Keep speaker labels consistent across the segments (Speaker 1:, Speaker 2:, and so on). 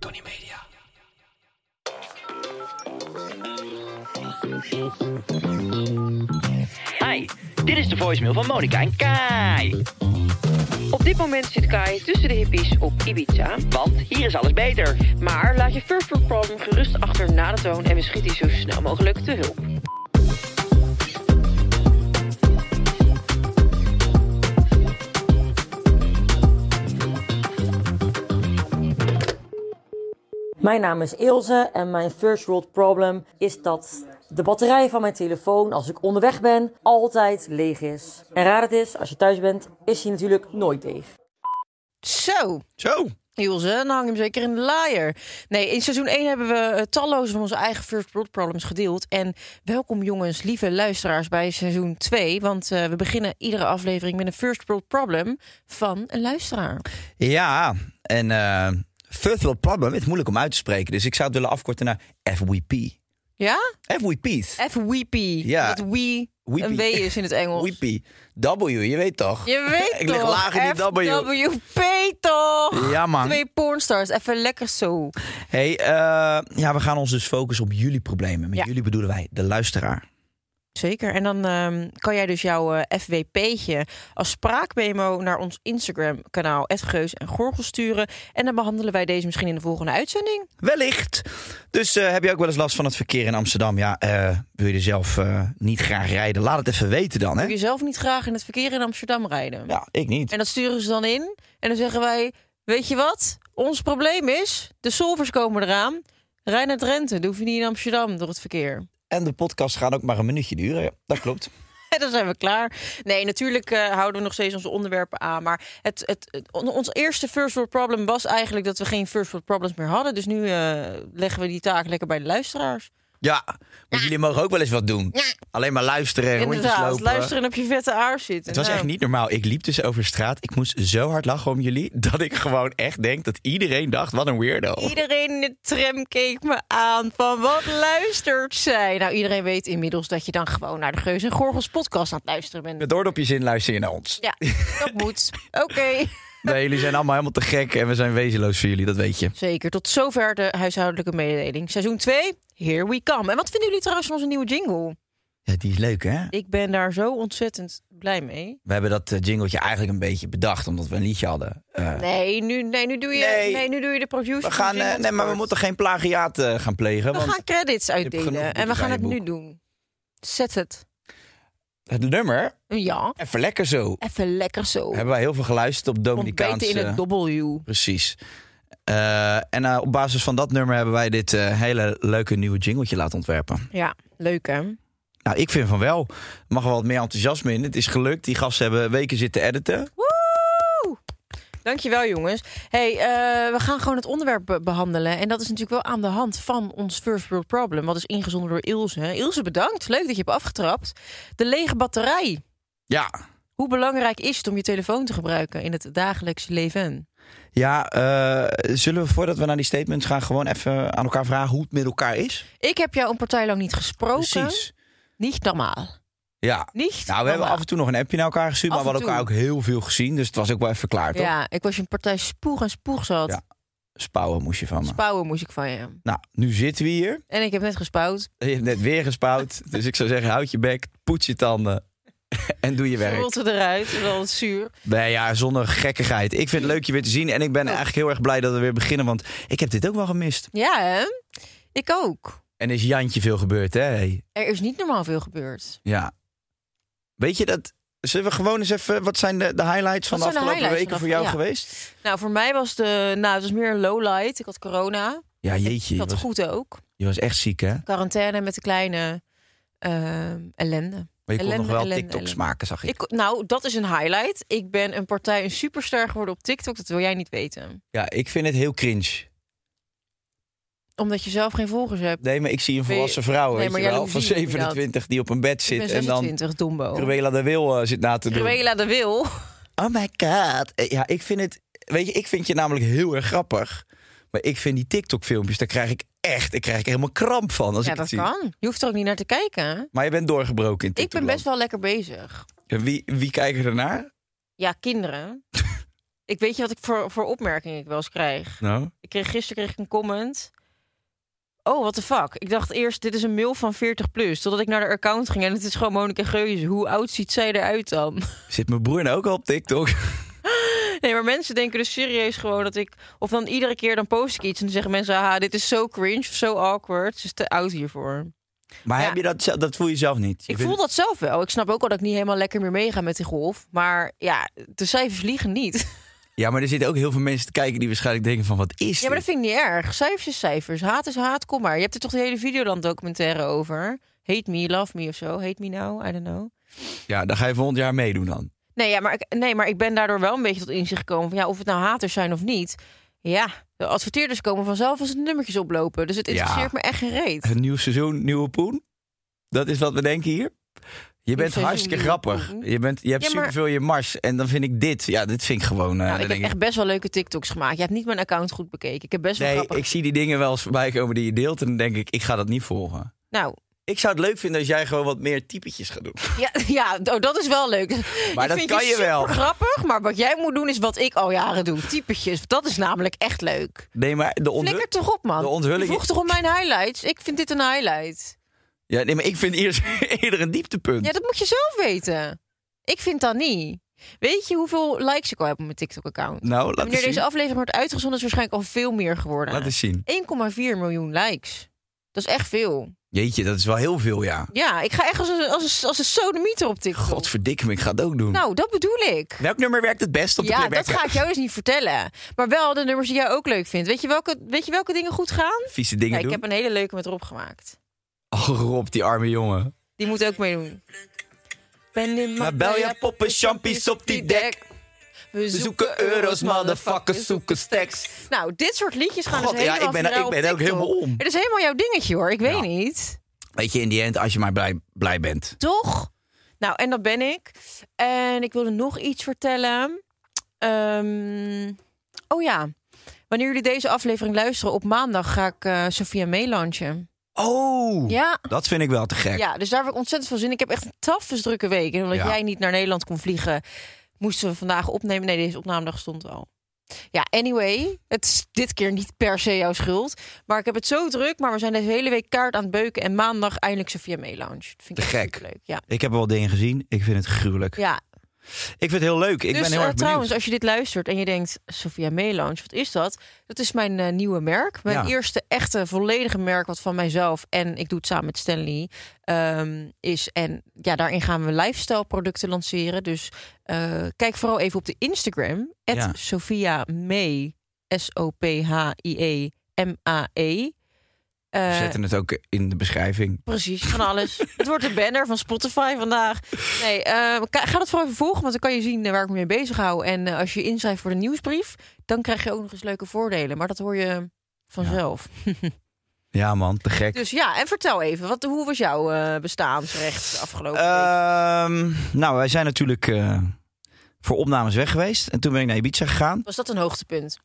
Speaker 1: Tony Media.
Speaker 2: Hi, dit is de voicemail van Monica en Kai.
Speaker 3: Op dit moment zit Kai tussen de hippies op Ibiza.
Speaker 2: Want hier is alles beter.
Speaker 3: Maar laat je Furfur Problem gerust achter na de toon en we schieten je zo snel mogelijk te hulp.
Speaker 4: Mijn naam is Ilse en mijn first world problem is dat de batterij van mijn telefoon als ik onderweg ben altijd leeg is. En raar het is, als je thuis bent, is hij natuurlijk nooit leeg.
Speaker 5: Zo,
Speaker 1: Zo.
Speaker 5: Ilse, dan hang je hem zeker in de laaier. Nee, in seizoen 1 hebben we eh, talloze van onze eigen First World Problems gedeeld. En welkom jongens, lieve luisteraars, bij seizoen 2. Want eh, we beginnen iedere aflevering met een First World Problem van een luisteraar.
Speaker 1: Ja, en eh first world problem het is moeilijk om uit te spreken. Dus ik zou het willen afkorten naar FWP.
Speaker 5: Ja?
Speaker 1: FWP's.
Speaker 5: F weepy.
Speaker 1: Ja.
Speaker 5: Dat we
Speaker 1: Weepy.
Speaker 5: een W is in het Engels.
Speaker 1: WP. W, je weet toch?
Speaker 5: Je weet
Speaker 1: Ik lig
Speaker 5: toch,
Speaker 1: laag in die W.
Speaker 5: FWP toch?
Speaker 1: Ja, man.
Speaker 5: Twee pornstars, even lekker zo.
Speaker 1: hey, eh, ja, we gaan ons dus focussen op jullie problemen. Met
Speaker 5: Ja.
Speaker 1: jullie bedoelen wij de luisteraar.
Speaker 5: Zeker. En dan ehm, kan jij dus jouw eh, FWP'tje als spraakmemo naar ons Instagram-kanaal Geus en Gorgel sturen. En dan behandelen wij deze misschien in de volgende uitzending.
Speaker 1: Wellicht. Dus eh, heb je ook wel eens last van het verkeer in Amsterdam? Ja, eh, wil je er zelf eh, niet graag rijden? Laat het even weten dan,
Speaker 5: Wil
Speaker 1: hè?
Speaker 5: je zelf niet graag in het verkeer in Amsterdam rijden?
Speaker 1: Ja, ik niet.
Speaker 5: En dat sturen ze dan in. En dan zeggen wij, weet je wat? Ons probleem is, de solvers komen eraan. Rij naar Drenthe, dan hoef je niet in Amsterdam door het verkeer.
Speaker 1: En de podcast gaat ook maar een minuutje duren. Ja, dat klopt.
Speaker 5: En dan zijn we klaar. Nee, natuurlijk eh, houden we nog steeds onze onderwerpen aan. Maar het, het, het- on- ons eerste first world problem was eigenlijk dat we geen first world problems meer hadden. Dus nu eh, leggen we die taak lekker bij de luisteraars.
Speaker 1: Ja, want jullie mogen ook wel eens wat doen. Alleen maar luisteren en rondjes
Speaker 5: Inderdaad,
Speaker 1: lopen.
Speaker 5: luisteren op je vette aar zitten.
Speaker 1: Het
Speaker 5: Nou,
Speaker 1: was echt niet normaal. Ik liep dus over straat. Ik moest zo hard lachen om jullie. Dat ik gewoon echt denk dat iedereen dacht: wat een weirdo.
Speaker 5: Iedereen in de tram keek me aan van wat luistert zij? Nou, iedereen weet inmiddels dat je dan gewoon naar de Geus en Gorgels podcast aan het luisteren bent.
Speaker 1: Met oordopjes in luister je naar ons.
Speaker 5: Ja, dat moet. Oké.
Speaker 1: Nee, jullie zijn allemaal helemaal te gek en we zijn wezenloos voor jullie, dat weet je.
Speaker 5: Zeker, tot zover de huishoudelijke mededeling. Seizoen 2, here we come. En wat vinden jullie trouwens van onze nieuwe jingle?
Speaker 1: Ja, die is leuk, hè?
Speaker 5: Ik ben daar zo ontzettend blij mee.
Speaker 1: We hebben dat eh, jingletje eigenlijk een beetje bedacht, omdat we een liedje hadden. Eh,
Speaker 5: Nee, nu, nee, nu, doe, je,
Speaker 1: Nee.
Speaker 5: nee. nu doe je de producer.
Speaker 1: we gaan,
Speaker 5: van
Speaker 1: eh, nee,
Speaker 5: Jingle
Speaker 1: maar we
Speaker 5: tekort.
Speaker 1: moeten geen plagiaat eh, gaan plegen.
Speaker 5: We
Speaker 1: want
Speaker 5: gaan credits
Speaker 1: genoeg
Speaker 5: uitdelen en we
Speaker 1: boeken
Speaker 5: gaan
Speaker 1: bij
Speaker 5: het
Speaker 1: je
Speaker 5: nu
Speaker 1: boek.
Speaker 5: doen. Zet het.
Speaker 1: Het nummer,
Speaker 5: Ja,
Speaker 1: even lekker zo.
Speaker 5: even lekker zo.
Speaker 1: Hebben wij heel veel geluisterd op Dominicaanse...
Speaker 5: Ontbeten Oh. in het W.
Speaker 1: Precies. Eh, en eh, op basis van dat nummer hebben wij dit eh, hele leuke nieuwe jingletje laten ontwerpen.
Speaker 5: Ja, leuk hè?
Speaker 1: Nou, ik vind van wel. Er mag wel wat meer enthousiasme in. Het is gelukt. Die gasten hebben weken zitten editen.
Speaker 5: Woe! Dankjewel jongens. Hey, eh, we gaan gewoon het onderwerp be- behandelen. En dat is natuurlijk wel aan de hand van ons First World Problem. Wat is ingezonden door Ilse. Ilse, bedankt. Leuk dat je hebt afgetrapt. De lege batterij.
Speaker 1: Ja.
Speaker 5: Hoe belangrijk is het om je telefoon te gebruiken in het dagelijkse leven?
Speaker 1: Ja, eh, zullen we voordat we naar die statements gaan gewoon even aan elkaar vragen hoe het met elkaar is?
Speaker 5: Ik heb jou een partij lang niet gesproken.
Speaker 1: Precies.
Speaker 5: Niet normaal.
Speaker 1: Ja.
Speaker 5: Niet?
Speaker 1: Nou, we hebben af en toe nog een appje naar elkaar gestuurd,
Speaker 5: Af
Speaker 1: maar we
Speaker 5: en
Speaker 1: hadden elkaar ook heel veel gezien. Dus het was ook wel even verklaard, toch?
Speaker 5: Ja, ik was je een partij spoeg en spoeg zat.
Speaker 1: Ja. Spouwen moest je van me.
Speaker 5: Spouwen moest ik van je.
Speaker 1: nou, nu zitten we hier.
Speaker 5: En ik heb net gespouwd.
Speaker 1: Je hebt net weer gespouwd. dus ik zou zeggen, houd je bek, poets je tanden en doe je werk.
Speaker 5: Rotte eruit, dat is altijd zuur.
Speaker 1: Nee, ja, zonder gekkigheid. Ik vind het leuk je weer te zien. En ik ben eigenlijk heel erg blij dat we weer beginnen, want ik heb dit ook wel gemist.
Speaker 5: Ja, hè? Ik ook.
Speaker 1: En is Jantje veel gebeurd, hè? Hey.
Speaker 5: Er is niet normaal veel gebeurd.
Speaker 1: Ja. Weet je dat... Zullen we gewoon eens even... Wat zijn de, de highlights van
Speaker 5: Wat zijn
Speaker 1: de
Speaker 5: de
Speaker 1: afgelopen
Speaker 5: highlights
Speaker 1: weken
Speaker 5: van
Speaker 1: voor
Speaker 5: de
Speaker 1: jou
Speaker 5: afgelopen-
Speaker 1: geweest?
Speaker 5: Nou, voor mij was de... Nou, het was meer een lowlight. Ik had corona.
Speaker 1: Ja, jeetje.
Speaker 5: Ik
Speaker 1: Je
Speaker 5: had
Speaker 1: was,
Speaker 5: het goed ook.
Speaker 1: je was echt ziek, hè?
Speaker 5: Quarantaine met de kleine ehm, ellende.
Speaker 1: Maar je kon
Speaker 5: Ellende,
Speaker 1: nog wel
Speaker 5: ellende,
Speaker 1: TikToks
Speaker 5: ellende.
Speaker 1: maken, zag ik.
Speaker 5: Ik, nou, dat is een highlight. Ik ben een partij, een superster geworden op TikTok. Dat wil jij niet weten.
Speaker 1: Ja, ik vind het heel cringe.
Speaker 5: Omdat je zelf geen volgers hebt.
Speaker 1: Nee, maar ik zie een
Speaker 5: Ben je-
Speaker 1: volwassen vrouw,
Speaker 5: Nee,
Speaker 1: weet
Speaker 5: maar
Speaker 1: je wel,
Speaker 5: jaloezie
Speaker 1: van
Speaker 5: noem je dat.
Speaker 1: 27 die op een bed
Speaker 5: Ik
Speaker 1: zit
Speaker 5: ben
Speaker 1: en dan
Speaker 5: 26, Dombo.
Speaker 1: Cruella de Wil eh, zit na te doen.
Speaker 5: Oh. Cruella de Wil.
Speaker 1: Oh my god. Eh, Ja, ik vind het... Weet je, ik vind je namelijk heel erg grappig. Maar ik vind die TikTok-filmpjes, daar krijg ik echt... Ik krijg er helemaal kramp van als
Speaker 5: Ja,
Speaker 1: ik het
Speaker 5: dat
Speaker 1: zie.
Speaker 5: kan. Je hoeft er ook niet naar te kijken.
Speaker 1: Maar je bent doorgebroken in
Speaker 5: Ik
Speaker 1: TikTok.
Speaker 5: ben best wel lekker bezig.
Speaker 1: Wie, wie kijken ernaar?
Speaker 5: Ja, kinderen. ik weet je wat ik voor, voor opmerkingen ik wel eens krijg.
Speaker 1: Nou?
Speaker 5: Ik kreeg, gisteren kreeg ik een comment. Oh, what the fuck. Ik dacht eerst, dit is een mail van 40 plus. Totdat ik naar de account ging en het is gewoon Monika Geuze. Hoe oud ziet zij eruit dan?
Speaker 1: Zit mijn broer nou ook al op TikTok?
Speaker 5: Nee, maar mensen denken dus serieus gewoon dat ik... Of dan iedere keer dan post ik iets en dan zeggen mensen... Haha, dit is zo cringe of zo awkward. Ze is te oud hiervoor.
Speaker 1: Maar
Speaker 5: Ja.
Speaker 1: heb je dat, zelf- dat voel je zelf niet? Je
Speaker 5: Ik
Speaker 1: vindt-
Speaker 5: voel dat zelf wel. Ik snap ook wel dat ik niet helemaal lekker meer meega met die golf. Maar ja, de cijfers liegen niet.
Speaker 1: Ja, maar er zitten ook heel veel mensen te kijken die waarschijnlijk denken van... Wat is
Speaker 5: Ja, maar dat
Speaker 1: dit?
Speaker 5: vind ik niet erg. Cijfers is cijfers. Haat is haat, kom maar. Je hebt er toch de hele Videoland documentaire over? Hate me, love me of zo. Hate me now, I don't know.
Speaker 1: Ja, dan ga je volgend jaar meedoen dan.
Speaker 5: Nee, ja, maar ik, nee, maar ik ben daardoor wel een beetje tot inzicht gekomen van ja, of het nou haters zijn of niet. Ja, de adverteerders komen vanzelf als de nummertjes oplopen. Dus het
Speaker 1: Ja.
Speaker 5: interesseert me echt geen reet.
Speaker 1: Een nieuw seizoen, nieuwe poen. Dat is wat we denken hier. Je bent
Speaker 5: seizoen,
Speaker 1: hartstikke
Speaker 5: nieuwe
Speaker 1: grappig.
Speaker 5: poen.
Speaker 1: Je, bent, je hebt
Speaker 5: Ja, maar-
Speaker 1: superveel in je mars. En dan vind ik dit. Ja, dit vind ik gewoon... eh,
Speaker 5: Nou,
Speaker 1: dan
Speaker 5: ik heb
Speaker 1: denk
Speaker 5: echt best wel leuke TikToks gemaakt. Je hebt niet mijn account goed bekeken. Ik heb best wel
Speaker 1: nee,
Speaker 5: grappig.
Speaker 1: ik zie die dingen wel eens voorbij komen die je deelt. En dan denk ik, ik ga dat niet volgen.
Speaker 5: Nou,
Speaker 1: Ik zou het leuk vinden als jij gewoon wat meer typetjes gaat doen.
Speaker 5: ja, ja, oh, dat is wel leuk. Maar
Speaker 1: dat kan je wel.
Speaker 5: Grappig, maar wat jij moet doen is wat ik al jaren doe. Typetjes. Dat is namelijk echt leuk.
Speaker 1: Nee, maar de onthu-
Speaker 5: Flikker toch op, man.
Speaker 1: de onthulling-
Speaker 5: Je vroeg toch om mijn highlights. Ik vind dit een highlight.
Speaker 1: Ja, nee, maar ik vind eerst eerder een dieptepunt.
Speaker 5: Ja, dat moet je zelf weten. Ik vind dat niet. Weet je hoeveel likes ik al heb op mijn TikTok-account?
Speaker 1: nou, laat
Speaker 5: Wanneer
Speaker 1: eens,
Speaker 5: deze
Speaker 1: zien.
Speaker 5: aflevering wordt uitgezonden, is het waarschijnlijk al veel meer geworden.
Speaker 1: laat eens zien.
Speaker 5: 1,4 miljoen likes. Dat is echt veel.
Speaker 1: Jeetje, dat is wel heel veel, ja.
Speaker 5: Ja, ik ga echt als een, als een, als een sodomieter op TikTok.
Speaker 1: Godverdikke me, ik ga het ook doen.
Speaker 5: Nou, dat bedoel ik.
Speaker 1: Welk nummer werkt het best op de
Speaker 5: Ja, dat
Speaker 1: playback?
Speaker 5: ga ik jou dus niet vertellen. Maar wel de nummers die jij ook leuk vindt. Weet je welke, weet je welke dingen goed gaan?
Speaker 1: Vieze dingen
Speaker 5: Ja, ik
Speaker 1: doen.
Speaker 5: heb een hele leuke met Rob gemaakt.
Speaker 1: Oh, Rob, die arme jongen.
Speaker 5: Die moet ook meedoen. Ben in
Speaker 1: Maar bel je poppen, champies op die dek.
Speaker 5: We
Speaker 1: zoeken euro's, motherfuckers, zoeken stacks.
Speaker 5: Nou, dit soort liedjes gaan
Speaker 1: God,
Speaker 5: dus
Speaker 1: ja,
Speaker 5: helemaal
Speaker 1: ik ben-
Speaker 5: viraal
Speaker 1: ik ben
Speaker 5: op
Speaker 1: ook
Speaker 5: TikTok.
Speaker 1: helemaal om.
Speaker 5: Het is helemaal jouw dingetje hoor, ik weet
Speaker 1: Ja.
Speaker 5: niet.
Speaker 1: Weet je, in die end, als je maar blij, blij bent.
Speaker 5: Toch? Nou, en dat ben ik. En ik wilde nog iets vertellen. Ehm, oh ja, wanneer jullie deze aflevering luisteren, op maandag ga ik eh Sophia meelanchen.
Speaker 1: Oh,
Speaker 5: Ja,
Speaker 1: dat vind ik wel te gek.
Speaker 5: ja, dus daar heb ik ontzettend veel zin in. Ik heb echt een tafels drukke week. En omdat
Speaker 1: Ja.
Speaker 5: jij niet naar Nederland kon vliegen, moesten we vandaag opnemen. Nee, deze opnamedag stond al. Ja, anyway, het is dit keer niet per se jouw schuld. Maar ik heb het zo druk. Maar we zijn deze hele week kaart aan het beuken. En maandag eindelijk Sophia meelanchen. Dat vind ik
Speaker 1: Te
Speaker 5: echt
Speaker 1: gek.
Speaker 5: superleuk. Ja.
Speaker 1: Ik heb al dingen gezien. Ik vind het gruwelijk.
Speaker 5: ja,
Speaker 1: Ik vind het heel leuk. Ik
Speaker 5: dus
Speaker 1: ben heel
Speaker 5: eh,
Speaker 1: erg
Speaker 5: trouwens,
Speaker 1: benieuwd.
Speaker 5: als je dit luistert en je denkt, Sophia Melange, wat is dat? Dat is mijn eh, nieuwe merk. Mijn
Speaker 1: Ja.
Speaker 5: eerste echte volledige merk, wat van mijzelf en ik doe het samen met Stanley ehm, is. En ja, daarin gaan we lifestyle producten lanceren. Dus eh, kijk vooral even op de Instagram,
Speaker 1: Ja.
Speaker 5: Sophia May, S-O-P-H-I-E M-A-E.
Speaker 1: We
Speaker 5: E. Eh,
Speaker 1: zetten Dus het ook in de beschrijving.
Speaker 5: Precies, van alles. het wordt de banner van Spotify vandaag. Nee, eh, ka- ga dat vooral even volgen, want dan kan je zien eh, waar ik me mee bezig hou. En eh, als je je inschrijft voor de nieuwsbrief, dan krijg je ook nog eens leuke voordelen. Maar dat hoor je vanzelf.
Speaker 1: Ja, man, te gek.
Speaker 5: Dus ja, en vertel even, wat, hoe was jouw eh, bestaansrecht de afgelopen week?
Speaker 1: Ehm, nou, wij zijn natuurlijk eh, voor opnames weg geweest. En toen ben ik naar Ibiza gegaan.
Speaker 5: Was dat een hoogtepunt?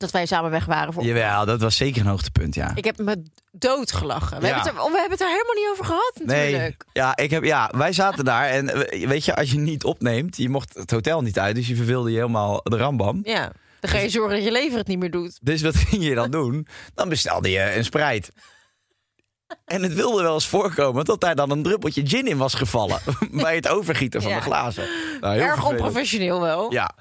Speaker 5: dat wij samen weg waren. Voor...
Speaker 1: Jawel, dat was zeker een hoogtepunt, ja.
Speaker 5: Ik heb me doodgelachen. We,
Speaker 1: Ja.
Speaker 5: hebben het er, we hebben het er helemaal niet over gehad
Speaker 1: Nee,
Speaker 5: natuurlijk.
Speaker 1: ja, ik heb, ja, wij zaten daar en eh, weet je, als je niet opneemt, je mocht het hotel niet uit, dus je verveelde je helemaal de rambam.
Speaker 5: Ja. Dan ga je zorgen dat je lever het niet meer doet.
Speaker 1: Dus wat ging je dan doen? Dan bestelde je een Sprite. En het wilde wel eens voorkomen dat daar dan een druppeltje gin in was gevallen. bij het overgieten van
Speaker 5: Ja.
Speaker 1: de glazen. Nou, heel
Speaker 5: Erg
Speaker 1: vervelend.
Speaker 5: onprofessioneel wel.
Speaker 1: Ja,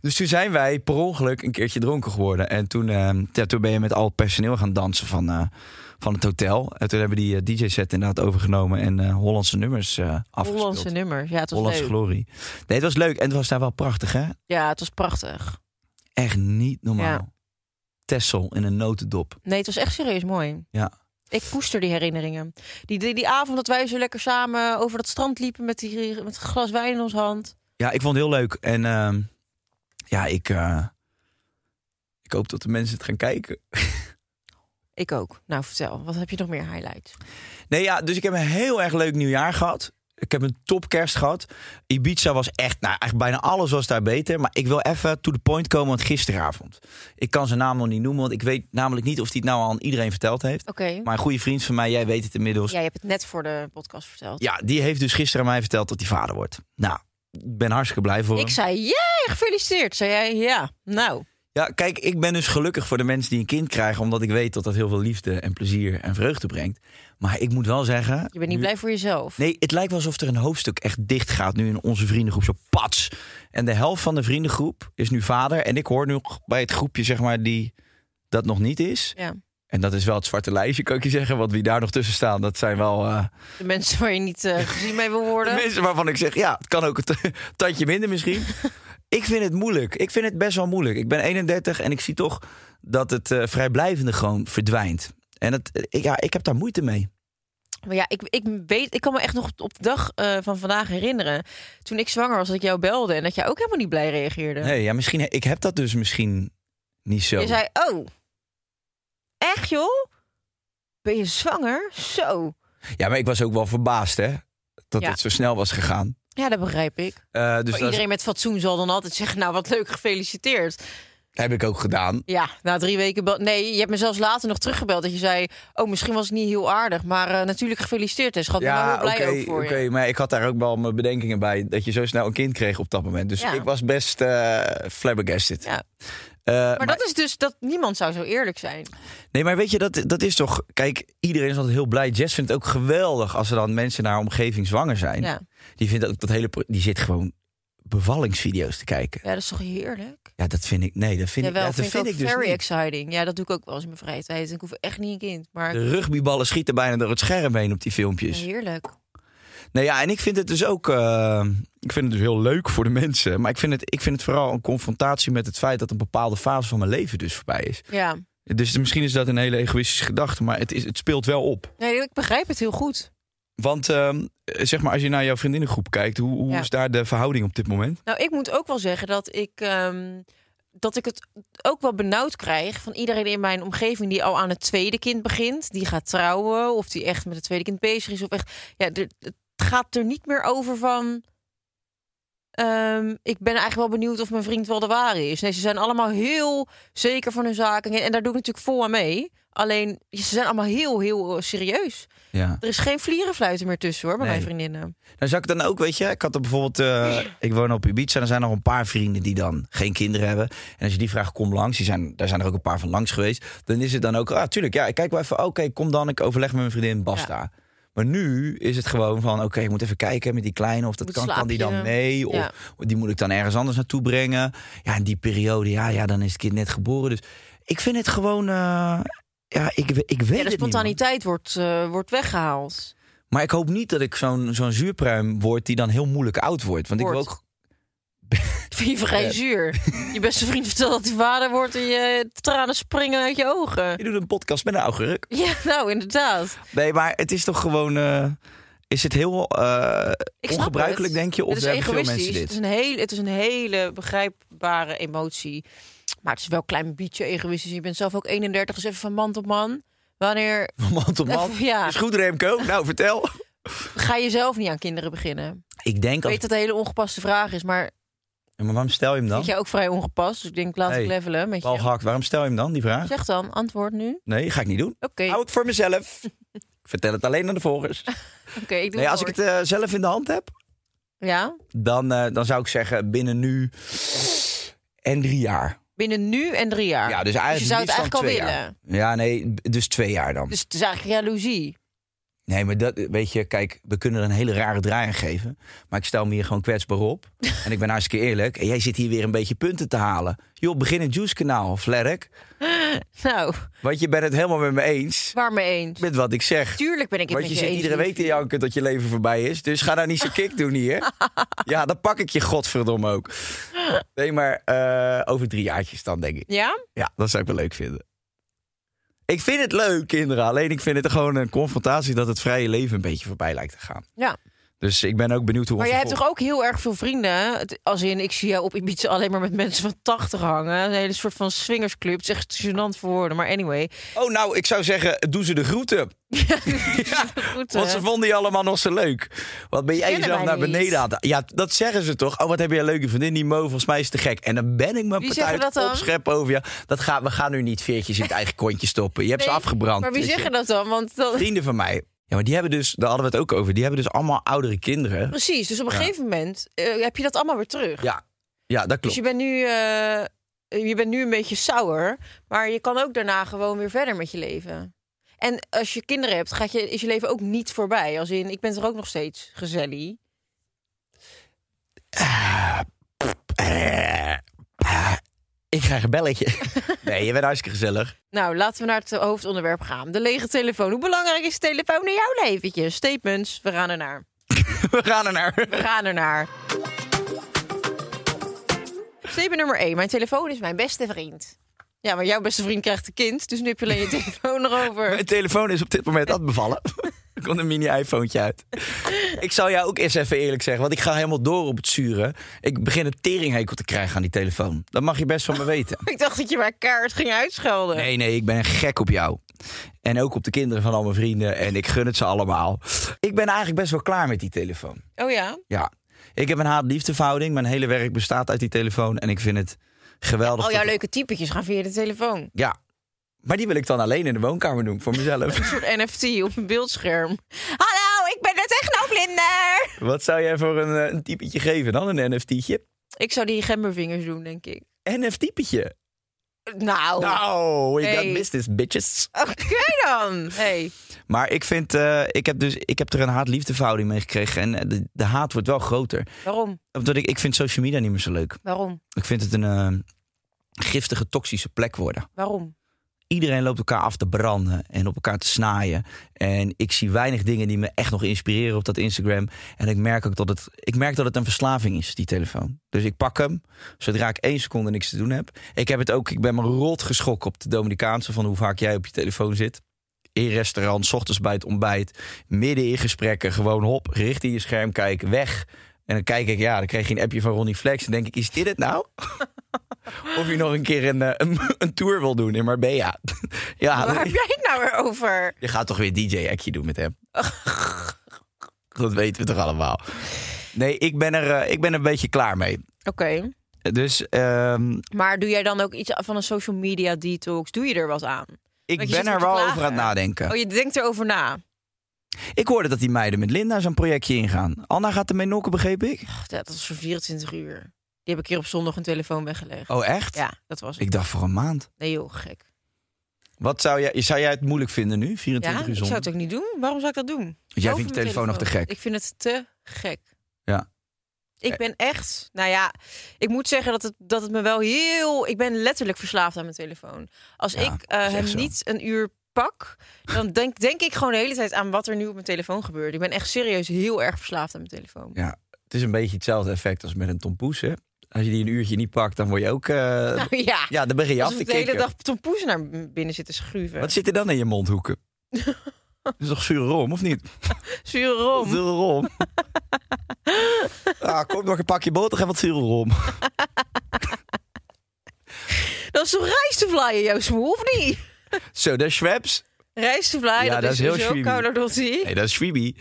Speaker 1: dus toen zijn wij per ongeluk een keertje dronken geworden. En toen, eh, ja, toen ben je met al het personeel gaan dansen van, eh, van het hotel. En toen hebben die eh, DJ-set inderdaad overgenomen en eh, Hollandse nummers eh afgespeeld.
Speaker 5: Hollandse nummers. Ja, het was
Speaker 1: Hollandse
Speaker 5: leuk.
Speaker 1: glorie. Nee, het was leuk en het was daar wel prachtig, hè?
Speaker 5: Ja, het was prachtig.
Speaker 1: Echt niet normaal.
Speaker 5: Ja.
Speaker 1: Tessel in een notendop.
Speaker 5: Nee, het was echt serieus mooi.
Speaker 1: Ja.
Speaker 5: Ik koester die herinneringen. Die, die, die avond dat wij zo lekker samen over dat strand liepen met, die, met het glas wijn in ons hand.
Speaker 1: Ja, ik vond het heel leuk. En ehm, ja, ik, eh, ik hoop dat de mensen het gaan kijken.
Speaker 5: Ik ook. Nou, vertel. Wat heb je nog meer highlights?
Speaker 1: Nee, ja, dus ik heb een heel erg leuk nieuwjaar gehad. Ik heb een topkerst gehad. Ibiza was echt, nou, echt bijna alles was daar beter. Maar ik wil even to the point komen, want gisteravond. Ik kan zijn naam nog niet noemen, want ik weet namelijk niet of hij het nou aan iedereen verteld heeft.
Speaker 5: Oké.
Speaker 1: Maar een goede vriend van mij, jij weet het inmiddels.
Speaker 5: Jij hebt het net voor de podcast verteld.
Speaker 1: Ja, die heeft dus gisteren aan mij verteld dat hij vader wordt. Nou, ik ben hartstikke blij voor
Speaker 5: Ik
Speaker 1: hem.
Speaker 5: zei, jee, gefeliciteerd. Zei jij, ja. Nou,
Speaker 1: Ja, kijk, ik ben dus gelukkig voor de mensen die een kind krijgen... omdat ik weet dat dat heel veel liefde en plezier en vreugde brengt. Maar ik moet wel zeggen...
Speaker 5: je bent niet
Speaker 1: nu-
Speaker 5: blij voor jezelf.
Speaker 1: Nee, het lijkt wel alsof er een hoofdstuk echt dicht gaat nu in onze vriendengroep. Zo pats. En de helft van de vriendengroep is nu vader. En ik hoor nu bij het groepje, zeg maar, die dat nog niet is.
Speaker 5: Ja.
Speaker 1: En dat is wel het zwarte lijstje, kan ik je zeggen. Want wie daar nog tussen staan, dat zijn wel... eh,
Speaker 5: De mensen waar je niet eh, gezien mee wil worden.
Speaker 1: de mensen waarvan ik zeg, ja, het kan ook een t- tandje minder misschien. ik vind het moeilijk. Ik vind het best wel moeilijk. Ik ben 31 en ik zie toch dat het eh, vrijblijvende gewoon verdwijnt. En het, eh, ik- ja, ik heb daar moeite mee.
Speaker 5: Maar ja, ik, ik weet, ik kan me echt nog op de dag eh, van vandaag herinneren. Toen ik zwanger was, dat ik jou belde en dat jij ook helemaal niet blij reageerde.
Speaker 1: Nee, ja, misschien, ik heb dat dus misschien niet zo.
Speaker 5: Je zei, oh, echt joh? Ben je zwanger? Zo.
Speaker 1: Ja, maar ik was ook wel verbaasd, hè? Dat
Speaker 5: Ja.
Speaker 1: het zo snel was gegaan.
Speaker 5: Ja, dat begrijp ik.
Speaker 1: Eh, dus
Speaker 5: Maar
Speaker 1: dat
Speaker 5: iedereen met fatsoen zal dan altijd zeggen, nou wat leuk, gefeliciteerd.
Speaker 1: heb ik ook gedaan.
Speaker 5: Ja, na drie weken... bel- Nee, je hebt me zelfs later nog teruggebeld dat je zei... oh, misschien was het niet heel aardig, maar eh, natuurlijk gefeliciteerd. En schat, ik ben wel
Speaker 1: Ja,
Speaker 5: heel
Speaker 1: oké,
Speaker 5: blij ook voor
Speaker 1: oké,
Speaker 5: je.
Speaker 1: maar ik had daar ook wel mijn bedenkingen bij... dat je zo snel een kind kreeg op dat moment. Dus
Speaker 5: Ja.
Speaker 1: ik was best eh flabbergasted.
Speaker 5: Ja,
Speaker 1: Eh,
Speaker 5: maar,
Speaker 1: maar-
Speaker 5: dat is dus dat niemand zou zo eerlijk zijn.
Speaker 1: Nee, maar weet je, dat, dat is toch... Kijk, iedereen is altijd heel blij. Jess vindt het ook geweldig als er dan mensen naar haar omgeving zwanger zijn.
Speaker 5: Ja.
Speaker 1: Die, vindt ook dat hele, pro- die zit gewoon bevallingsvideo's te kijken.
Speaker 5: ja, dat is toch heerlijk?
Speaker 1: Ja, dat vind ik... Nee, dat vind
Speaker 5: Jawel,
Speaker 1: ik, ja, dat
Speaker 5: vind,
Speaker 1: vind
Speaker 5: ik
Speaker 1: ik
Speaker 5: ook
Speaker 1: dus
Speaker 5: very
Speaker 1: niet.
Speaker 5: exciting. Ja, dat doe ik ook wel eens in mijn vrije tijd. Ik hoef echt niet een kind, maar
Speaker 1: De rugbyballen schieten bijna door het scherm heen op die filmpjes.
Speaker 5: heerlijk.
Speaker 1: Nee, ja, en ik vind het dus ook. eh, ik vind het dus heel leuk voor de mensen. Maar ik vind, het, ik vind het vooral een confrontatie met het feit dat een bepaalde fase van mijn leven dus voorbij is.
Speaker 5: Ja,
Speaker 1: Dus misschien is dat een hele egoïstische gedachte, maar het, is, het speelt wel op.
Speaker 5: nee, ik begrijp het heel goed.
Speaker 1: Want ehm, zeg maar, als je naar jouw vriendinnengroep kijkt, hoe, hoe
Speaker 5: Ja.
Speaker 1: is daar de verhouding op dit moment?
Speaker 5: Nou, ik moet ook wel zeggen dat ik, ehm, dat ik het ook wel benauwd krijg van iedereen in mijn omgeving die al aan het tweede kind begint. Die gaat trouwen of die echt met het tweede kind bezig is. Of echt, ja, er- het gaat er niet meer over van. ehm, ik ben eigenlijk wel benieuwd of mijn vriend wel de ware is. Nee, ze zijn allemaal heel zeker van hun zaken. En daar doe ik natuurlijk vol aan mee. Alleen, ze zijn allemaal heel, heel eh, serieus.
Speaker 1: Ja.
Speaker 5: Er is geen vlierenfluiten meer tussen hoor, bij
Speaker 1: Nee.
Speaker 5: mijn vriendinnen.
Speaker 1: Nou, zou ik dan ook, weet je, ik had er bijvoorbeeld, eh, ik woon op Ibiza, en er zijn nog een paar vrienden die dan geen kinderen hebben. En als je die vraagt, kom langs, die zijn, daar zijn er ook een paar van langs geweest. Dan is het dan ook, ah, tuurlijk, ja, ik kijk wel even, oké, kom dan, ik overleg met mijn vriendin, basta. Maar nu is het gewoon van, oké, ik moet even kijken met die kleine, of dat
Speaker 5: Moet
Speaker 1: kan, kan die dan
Speaker 5: slaapje.
Speaker 1: mee? Of
Speaker 5: Ja.
Speaker 1: die moet ik dan ergens anders naartoe brengen? Ja, in die periode, ja, ja, dan is het kind net geboren. Dus ik vind het gewoon, eh, ja, ik, ik weet het
Speaker 5: Ja, de
Speaker 1: niet, man.
Speaker 5: spontaniteit wordt, eh, wordt weggehaald.
Speaker 1: Maar ik hoop niet dat ik zo'n zo'n zuurpruim word die dan heel moeilijk oud wordt. Want ik
Speaker 5: Wordt.
Speaker 1: wil ook
Speaker 5: Ik vind je vrij
Speaker 1: Ja.
Speaker 5: zuur. Je beste vriend vertelt dat hij vader wordt en je tranen springen uit je ogen.
Speaker 1: Je doet een podcast met een augurk.
Speaker 5: Ja, nou inderdaad.
Speaker 1: Nee, maar het is toch gewoon... eh, is het heel eh,
Speaker 5: Ik snap
Speaker 1: ongebruikelijk,
Speaker 5: het.
Speaker 1: denk je? Of
Speaker 5: het is
Speaker 1: hebben veel
Speaker 5: egoïstisch.
Speaker 1: mensen
Speaker 5: Het, is
Speaker 1: dit?
Speaker 5: een hele, het is een hele begrijpbare emotie. Maar het is wel een klein beetje egoïstisch. Je bent zelf ook 31, dus even van man tot man. Wanneer
Speaker 1: Man tot man.
Speaker 5: Ja.
Speaker 1: Is goed, Remco? Nou, vertel.
Speaker 5: ga je zelf niet aan kinderen beginnen?
Speaker 1: Ik denk
Speaker 5: Ik
Speaker 1: als...
Speaker 5: weet dat het een hele ongepaste vraag is, maar
Speaker 1: En maar waarom stel je hem dan?
Speaker 5: Vind jij ook vrij ongepast, dus ik denk laat ik
Speaker 1: Hey,
Speaker 5: levelen met
Speaker 1: Paul
Speaker 5: je.
Speaker 1: Hak, waarom stel je hem dan, die vraag?
Speaker 5: Zeg dan, antwoord nu.
Speaker 1: Nee, ga ik niet doen.
Speaker 5: Oké,
Speaker 1: Hou het voor mezelf. ik vertel het alleen aan de volgers.
Speaker 5: oké, ik
Speaker 1: Nee,
Speaker 5: doe het
Speaker 1: als ik het eh, zelf in de hand heb,
Speaker 5: voor. Ja,
Speaker 1: dan, eh, dan zou ik zeggen binnen nu en drie jaar.
Speaker 5: binnen nu en drie jaar.
Speaker 1: Ja, dus
Speaker 5: dus je
Speaker 1: eigenlijk
Speaker 5: zou het
Speaker 1: liefst dan
Speaker 5: eigenlijk al
Speaker 1: twee
Speaker 5: willen.
Speaker 1: jaar. Ja, nee, b- dus twee jaar dan.
Speaker 5: Dus het is eigenlijk jaloezie.
Speaker 1: Nee, maar dat, weet je, kijk, we kunnen er een hele rare draai aan geven. Maar ik stel me hier gewoon kwetsbaar op. en ik ben hartstikke eerlijk. En jij zit hier weer een beetje punten te halen. Joh, begin een juice-kanaal, Flerk.
Speaker 5: Nou,
Speaker 1: Want je bent het helemaal met me eens
Speaker 5: waarmee eens.
Speaker 1: met wat ik zeg.
Speaker 5: Tuurlijk ben ik het
Speaker 1: Want je
Speaker 5: met
Speaker 1: zit
Speaker 5: je eens.
Speaker 1: iedere week te janken dat je leven voorbij is. Dus ga daar niet zo kick doen hier. Ja, dan pak ik je godverdomme ook. Nee, maar eh, over drie jaartjes dan, denk ik.
Speaker 5: Ja?
Speaker 1: Ja, dat zou ik wel leuk vinden. Ik vind het leuk, kinderen. Alleen ik vind het gewoon een confrontatie dat het vrije leven een beetje voorbij lijkt te gaan.
Speaker 5: Ja.
Speaker 1: Dus ik ben ook benieuwd hoe
Speaker 5: Maar
Speaker 1: onze
Speaker 5: jij hebt
Speaker 1: vol-
Speaker 5: toch ook heel erg veel vrienden? hè? Het- Als in, ik zie jou op Ibiza alleen maar met mensen van 80 hangen. Een hele soort van swingersclub. Het is echt gênant voor woorden. Maar anyway.
Speaker 1: Oh, nou, ik zou zeggen, doe ze de groeten.
Speaker 5: Goed,
Speaker 1: Want ze
Speaker 5: eh,
Speaker 1: vonden je allemaal nog zo leuk. Wat ben jij
Speaker 5: kennen
Speaker 1: jezelf
Speaker 5: wij
Speaker 1: naar
Speaker 5: niet.
Speaker 1: beneden aan het- Ja, dat zeggen ze toch. Oh, wat heb je een leuke vriendin, die Mo, volgens mij is te gek. En dan ben ik mijn
Speaker 5: Wie
Speaker 1: partij
Speaker 5: zeggen dat dan?
Speaker 1: opscheppen over je. Dat gaat, we gaan nu niet veertjes in het eigen kontje stoppen. Je hebt ze
Speaker 5: nee,
Speaker 1: afgebrand.
Speaker 5: Maar wie
Speaker 1: Dus je-
Speaker 5: zeggen dat dan? Want dat...
Speaker 1: Vrienden van mij. Ja, maar die hebben dus, daar hadden we het ook over. Die hebben dus allemaal oudere kinderen.
Speaker 5: Precies, dus op een
Speaker 1: Ja.
Speaker 5: gegeven moment eh, heb je dat allemaal weer terug.
Speaker 1: Ja, ja dat
Speaker 5: Dus
Speaker 1: klopt.
Speaker 5: je bent, nu, eh, je bent nu een beetje sour, maar je kan ook daarna gewoon weer verder met je leven. En als je kinderen hebt, gaat je, is je leven ook niet voorbij. Als in, ik ben er ook nog steeds gezellig.
Speaker 1: Eh, eh, ik krijg een belletje. nee, je bent hartstikke gezellig.
Speaker 5: Nou, laten we naar het hoofdonderwerp gaan. De lege telefoon. Hoe belangrijk is de telefoon in jouw leventje? Statements, we gaan ernaar.
Speaker 1: We gaan er naar.
Speaker 5: We gaan ernaar. Statement nummer 1. Mijn telefoon is mijn beste vriend. Ja, maar jouw beste vriend krijgt een kind, dus nu heb je alleen je telefoon erover.
Speaker 1: Mijn telefoon is op dit moment aan het bevallen. Er komt een mini-iPhone uit. Ik zal jou ook eens even eerlijk zeggen, want ik ga helemaal door op het zuren. Ik begin een teringhekel te krijgen aan die telefoon. Dat mag je best van me weten.
Speaker 5: Ik dacht dat je maar kaart ging uitschelden.
Speaker 1: Nee, nee, ik ben gek op jou. En ook op de kinderen van al mijn vrienden. En ik gun het ze allemaal. Ik ben eigenlijk best wel klaar met die telefoon.
Speaker 5: Oh ja?
Speaker 1: Ja. Ik heb een haat-liefdeverhouding. Mijn hele werk bestaat uit die telefoon. En ik vind het geweldig.
Speaker 5: Al
Speaker 1: dat-
Speaker 5: Oh, jouw leuke typetjes gaan via de telefoon. Een
Speaker 1: Ja. Maar die wil ik dan alleen in de woonkamer doen voor mezelf.
Speaker 5: soort NFT op een beeldscherm. Hallo, ik ben nou de technovlinder!
Speaker 1: Wat zou jij voor een, eh, een typetje geven dan? Een NFT'tje?
Speaker 5: Ik zou die gemmervingers doen, denk ik.
Speaker 1: NFT'tje.
Speaker 5: Nou,
Speaker 1: Nou, we
Speaker 5: Hey.
Speaker 1: got business, bitches.
Speaker 5: oké dan. Hey.
Speaker 1: Maar ik vind, eh, ik, heb dus, ik heb er een haat-liefdeverhouding mee gekregen. En eh, de, de haat wordt wel groter.
Speaker 5: Waarom?
Speaker 1: Omdat ik, ik vind social media niet meer zo leuk.
Speaker 5: Waarom?
Speaker 1: Ik vind het een eh, giftige, toxische plek worden.
Speaker 5: Waarom?
Speaker 1: Iedereen loopt elkaar af te branden en op elkaar te snaaien. En ik zie weinig dingen die me echt nog inspireren op dat Instagram. En ik merk ook dat het, ik merk dat het een verslaving is, die telefoon. Dus ik pak hem zodra ik één seconde niks te doen heb. Ik heb het ook, ik ben me rot geschrokken op de Dominicaanse van hoe vaak jij op je telefoon zit. In restaurant, 's ochtends bij het ontbijt, midden in gesprekken, gewoon hop, richting je scherm kijken, weg. En dan kijk ik, ja, dan kreeg je een appje van Ronnie Flex. En denk ik, is dit het nou? of je nog een keer een, eh, een, een tour wil doen in Marbella. ja,
Speaker 5: Waar heb jij het nou weer over?
Speaker 1: je gaat toch weer DJ-actje doen met hem? Dat weten we toch allemaal? Nee, ik ben er, eh, ik ben er een beetje klaar mee.
Speaker 5: Oké.
Speaker 1: Dus ehm,
Speaker 5: Maar doe jij dan ook iets van een social media detox? Doe je er wat aan?
Speaker 1: ik
Speaker 5: Want je
Speaker 1: ben
Speaker 5: zit
Speaker 1: er
Speaker 5: te
Speaker 1: wel
Speaker 5: klagen.
Speaker 1: over aan het nadenken.
Speaker 5: Oh, je denkt erover na.
Speaker 1: Ik hoorde dat die meiden met Linda zo'n projectje ingaan. Anna gaat ermee nokken, begreep ik?
Speaker 5: Ach, dat was voor 24 uur. Die heb ik hier op zondag een telefoon weggelegd.
Speaker 1: Oh, echt?
Speaker 5: Ja, dat was ik.
Speaker 1: Ik dacht voor een maand.
Speaker 5: Nee joh, gek.
Speaker 1: Wat zou jij, zou jij het moeilijk vinden nu, 24
Speaker 5: Ja,
Speaker 1: uur
Speaker 5: ik zou
Speaker 1: zonder?
Speaker 5: het ook niet doen. Waarom zou ik dat doen?
Speaker 1: jij
Speaker 5: Over
Speaker 1: vindt de
Speaker 5: mijn
Speaker 1: telefoon nog te gek.
Speaker 5: Ik vind het te gek.
Speaker 1: Ja. Eh.
Speaker 5: Ik ben echt, nou ja, ik moet zeggen dat het, dat het me wel heel... Ik ben letterlijk verslaafd aan mijn telefoon. Als
Speaker 1: Ja,
Speaker 5: ik
Speaker 1: dat
Speaker 5: eh,
Speaker 1: is echt
Speaker 5: hem
Speaker 1: zo.
Speaker 5: niet een uur pak, dan denk, denk ik gewoon de hele tijd aan wat er nu op mijn telefoon gebeurt. Ik ben echt serieus heel erg verslaafd aan mijn telefoon.
Speaker 1: Ja, het is een beetje hetzelfde effect als met een tompoes, hè? Als je die een uurtje niet pakt, dan word je ook... eh,
Speaker 5: Nou ja,
Speaker 1: ja, dan begin je af
Speaker 5: als
Speaker 1: te
Speaker 5: we de hele
Speaker 1: kicken.
Speaker 5: dag tompoes naar binnen zitten schuiven.
Speaker 1: Wat zit er dan in je mondhoeken? Dat is toch zure rom, of niet?
Speaker 5: Zure rom.
Speaker 1: Zure rom. ah, kom nog een pakje boter en wat zure rom.
Speaker 5: Dat is toch rijstevlaaien, jouw smoel, of niet?
Speaker 1: Zo, dat is Schweppes.
Speaker 5: Rijstevlaaien,
Speaker 1: Ja,
Speaker 5: dat,
Speaker 1: dat
Speaker 5: is,
Speaker 1: is heel
Speaker 5: zo
Speaker 1: chibi.
Speaker 5: kouder dan die.
Speaker 1: Nee, dat is Schwibi.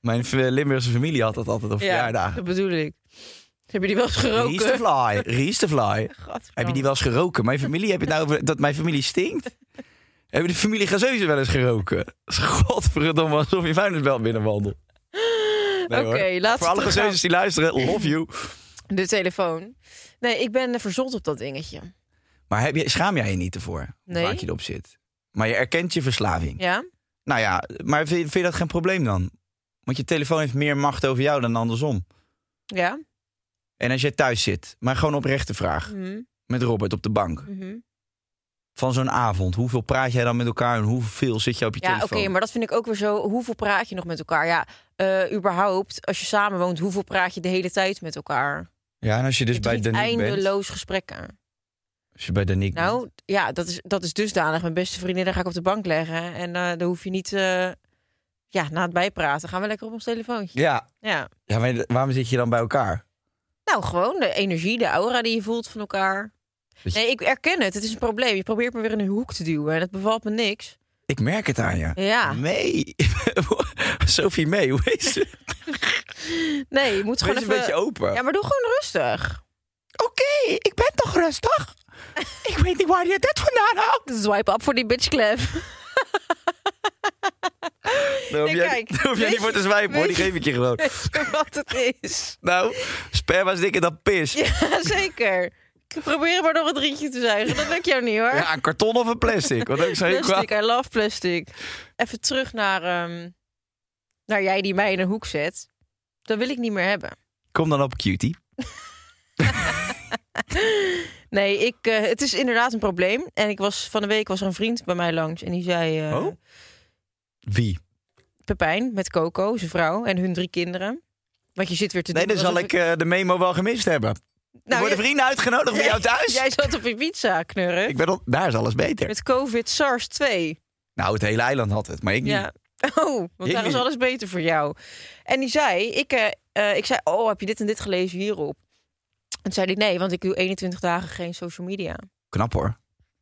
Speaker 1: Mijn v- Limburgse familie had dat altijd op
Speaker 5: Ja,
Speaker 1: verjaardagen.
Speaker 5: dat bedoel ik. Heb je die wel eens
Speaker 1: Reese the
Speaker 5: geroken?
Speaker 1: fly. Reese the fly. Heb je die wel eens geroken? Mijn familie, heb je het nou over dat mijn familie stinkt? Hebben de familie gazeuzen wel eens geroken? Godverdomme, alsof je vuilnisbelt binnenwandelt. Nee, hoor.
Speaker 5: Oké,
Speaker 1: Voor
Speaker 5: laten we
Speaker 1: alle
Speaker 5: teruggaan.
Speaker 1: gazeuzes die luisteren, love you.
Speaker 5: De telefoon. Nee, ik ben eh, verzot op dat dingetje.
Speaker 1: Maar heb je, schaam jij je niet ervoor?
Speaker 5: Nee.
Speaker 1: Waar je erop zit. Maar je erkent je verslaving.
Speaker 5: Ja?
Speaker 1: Nou ja, maar vind, vind je dat geen probleem dan? Want je telefoon heeft meer macht over jou dan andersom.
Speaker 5: Ja?
Speaker 1: En als jij thuis zit, maar gewoon oprechte vraag.
Speaker 5: Mhm,
Speaker 1: Met Robert op de bank.
Speaker 5: mhm.
Speaker 1: Van zo'n avond. Hoeveel praat jij dan met elkaar en hoeveel zit je op je
Speaker 5: Ja, oké,
Speaker 1: telefoon?
Speaker 5: maar dat vind ik ook weer zo. Hoeveel praat je nog met elkaar? Ja, eh, überhaupt, als je samen woont, hoeveel praat je de hele tijd met elkaar?
Speaker 1: Ja, en als je dus
Speaker 5: Je
Speaker 1: bij
Speaker 5: drinkt
Speaker 1: Danique bent.
Speaker 5: eindeloos gesprekken.
Speaker 1: Als je bij Danique bent.
Speaker 5: Nou, ja, dat is, dat is dusdanig. Mijn beste vriendin, daar ga ik op de bank leggen. En eh daar hoef je niet... eh, ja, na het bijpraten gaan we lekker op ons telefoontje.
Speaker 1: Ja,
Speaker 5: Ja.
Speaker 1: ja maar waarom zit je dan bij elkaar?
Speaker 5: Nou, gewoon de energie, de aura die je voelt van elkaar.
Speaker 1: Dus-
Speaker 5: Nee, ik erken het. Het is een probleem. Je probeert me weer in een hoek te duwen. En dat bevalt me niks.
Speaker 1: Ik merk het aan je.
Speaker 5: Ja.
Speaker 1: Mee. Sophie mee, hoe is ze?
Speaker 5: Nee, je
Speaker 1: Wees
Speaker 5: moet gewoon
Speaker 1: een
Speaker 5: even...
Speaker 1: beetje open.
Speaker 5: Ja, maar doe gewoon rustig.
Speaker 1: Oké, ik ben toch rustig? ik weet niet waar je dit vandaan haalt.
Speaker 5: Swipe up voor die bitchclap.
Speaker 1: Dan hoef
Speaker 5: Nee,
Speaker 1: jij,
Speaker 5: kijk,
Speaker 1: daar hoef jij
Speaker 5: weet
Speaker 1: niet voor
Speaker 5: je-
Speaker 1: te zwijpen hoor, die
Speaker 5: weet je-
Speaker 1: geef ik je gewoon.
Speaker 5: Weet je wat het is?
Speaker 1: Nou, sperma is dikker dan pis. Ja.
Speaker 5: Ja, zeker. Ik probeer maar nog een drietje te zuigen. Dat lukt jou niet hoor.
Speaker 1: een karton of een plastic. Wat ook zo heel
Speaker 5: plastic,
Speaker 1: kwaad.
Speaker 5: I love plastic. Even terug naar, ehm, naar jij die mij in een hoek zet. Dat wil ik niet meer hebben.
Speaker 1: Kom dan op, cutie.
Speaker 5: Nee, ik, eh, het is inderdaad een probleem. En ik was, van de week was er een vriend bij mij langs. En die zei... eh,
Speaker 1: Oh? Wie?
Speaker 5: Pepijn met Coco, zijn vrouw. En hun drie kinderen. Want je zit weer te
Speaker 1: Nee,
Speaker 5: doen
Speaker 1: dan zal
Speaker 5: alsof
Speaker 1: ik eh, de memo wel gemist hebben.
Speaker 5: Nou,
Speaker 1: Worden
Speaker 5: jij-
Speaker 1: vrienden uitgenodigd bij jou thuis?
Speaker 5: Jij zat op Ibiza, knurren.
Speaker 1: Ik ben al- daar is alles beter.
Speaker 5: Met COVID SARS 2.
Speaker 1: Nou, het hele eiland had het, maar ik niet.
Speaker 5: Ja. Oh, want
Speaker 1: Ik
Speaker 5: daar is
Speaker 1: niet.
Speaker 5: alles beter voor jou. En die zei, ik, eh, eh, ik zei, oh, heb je dit en dit gelezen hierop? En toen zei hij, nee, want ik doe 21 dagen geen social media.
Speaker 1: Knap hoor.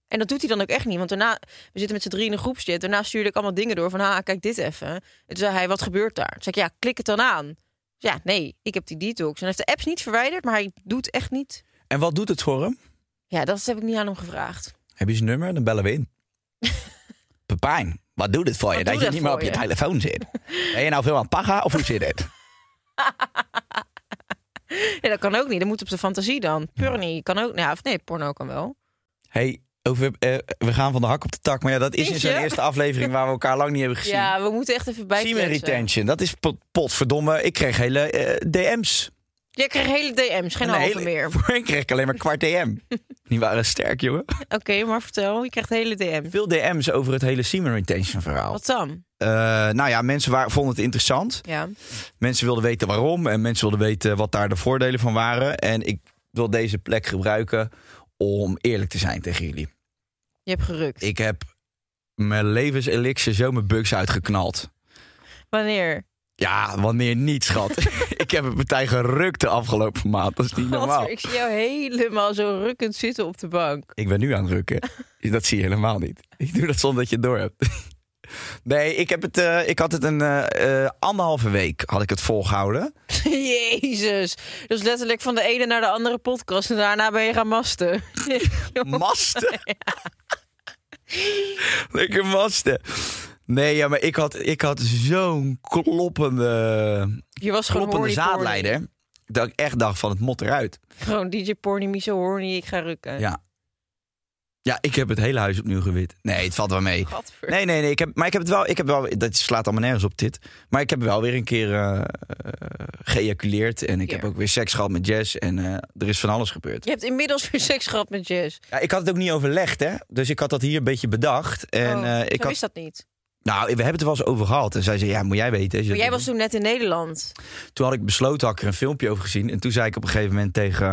Speaker 5: En dat doet hij dan ook echt niet. Want daarna, we zitten met z'n drieën in een groepschat. Daarna stuurde ik allemaal dingen door van, ha, kijk dit even. En toen zei hij, wat gebeurt daar? Toen zei ik, ja, klik het dan aan. Dus ja, nee, ik heb die detox. En hij heeft de apps niet verwijderd, maar hij doet echt niet.
Speaker 1: En wat doet het voor hem?
Speaker 5: Ja, dat heb ik niet aan hem gevraagd.
Speaker 1: Heb je zijn nummer? Dan bellen we in. Pepijn, wat doet het voor je?
Speaker 5: Wat
Speaker 1: Dat
Speaker 5: doet
Speaker 1: je
Speaker 5: het
Speaker 1: niet meer op
Speaker 5: voor
Speaker 1: je
Speaker 5: je?
Speaker 1: telefoon zit. Ben je nou veel aan paga of hoe zit het?
Speaker 5: Ja, dat kan ook niet. Dat moet op de fantasie dan. Purnie kan ook. Nou, of nee, porno kan wel.
Speaker 1: hey, over, eh, we gaan van de hak op de tak. Maar ja, dat is in
Speaker 5: Vind je?
Speaker 1: zo'n eerste aflevering waar we elkaar lang niet hebben gezien.
Speaker 5: Ja, we moeten echt even bij.
Speaker 1: Semen retention, dat is pot, potverdomme. Ik kreeg hele eh, DM's.
Speaker 5: Jij kreeg hele DM's, geen
Speaker 1: Een
Speaker 5: halve
Speaker 1: hele-
Speaker 5: meer.
Speaker 1: Voorheen kreeg ik alleen maar kwart DM. Die waren sterk, jongen.
Speaker 5: Oké, maar vertel. Je krijgt hele DM's.
Speaker 1: Veel DM's over het hele semen retention verhaal.
Speaker 5: Wat dan?
Speaker 1: Eh, nou ja, mensen waren, vonden het interessant.
Speaker 5: Ja.
Speaker 1: Mensen wilden weten waarom en mensen wilden weten wat daar de voordelen van waren. En ik wil deze plek gebruiken om eerlijk te zijn tegen jullie.
Speaker 5: Je hebt gerukt.
Speaker 1: Ik heb mijn levenselixer zo mijn bugs uitgeknald.
Speaker 5: Wanneer?
Speaker 1: Ja, wanneer niet, schat. ik heb een partij gerukt de afgelopen maand. Dat is niet normaal.
Speaker 5: Gadver, ik zie jou helemaal zo rukkend zitten op de bank.
Speaker 1: Ik ben nu aan het rukken. Dat zie je helemaal niet. Ik doe dat zonder dat je het door hebt. Nee, ik, heb het, eh, ik had het een eh, eh, anderhalve week had ik het volgehouden.
Speaker 5: Jezus. Dus letterlijk van de ene naar de andere podcast. En daarna ben je gaan masten.
Speaker 1: masten. Lekker masten. Nee, ja, maar ik had, ik had zo'n kloppende,
Speaker 5: Je was
Speaker 1: kloppende
Speaker 5: gewoon horny porny.
Speaker 1: zaadleider. Dat ik echt dacht van het mot eruit.
Speaker 5: Gewoon DJ Porny, Miso Horny, ik ga rukken.
Speaker 1: Ja. Ja, ik heb het hele huis opnieuw gewit. Nee, het valt wel mee.
Speaker 5: Gadver.
Speaker 1: Nee, nee, nee. Ik heb, maar ik heb het wel, ik heb wel. Dat slaat allemaal nergens op dit. Maar ik heb wel weer een keer eh, eh, geëjaculeerd. En ik
Speaker 5: Keer.
Speaker 1: heb ook weer seks gehad met Jess. En eh, er is van alles gebeurd.
Speaker 5: Je hebt inmiddels weer seks gehad met Jess.
Speaker 1: Ja, ik had het ook niet overlegd, hè? Dus ik had dat hier een beetje bedacht. En
Speaker 5: oh,
Speaker 1: eh,
Speaker 5: zo
Speaker 1: ik had
Speaker 5: is dat niet.
Speaker 1: Nou, we hebben het er wel eens over gehad. En zij zei, ja, moet jij weten. als je
Speaker 5: Maar jij
Speaker 1: dat
Speaker 5: was
Speaker 1: doet.
Speaker 5: toen net in Nederland.
Speaker 1: Oh, Toen had ik besloten, had ik er een filmpje over gezien. En toen zei ik op een gegeven moment tegen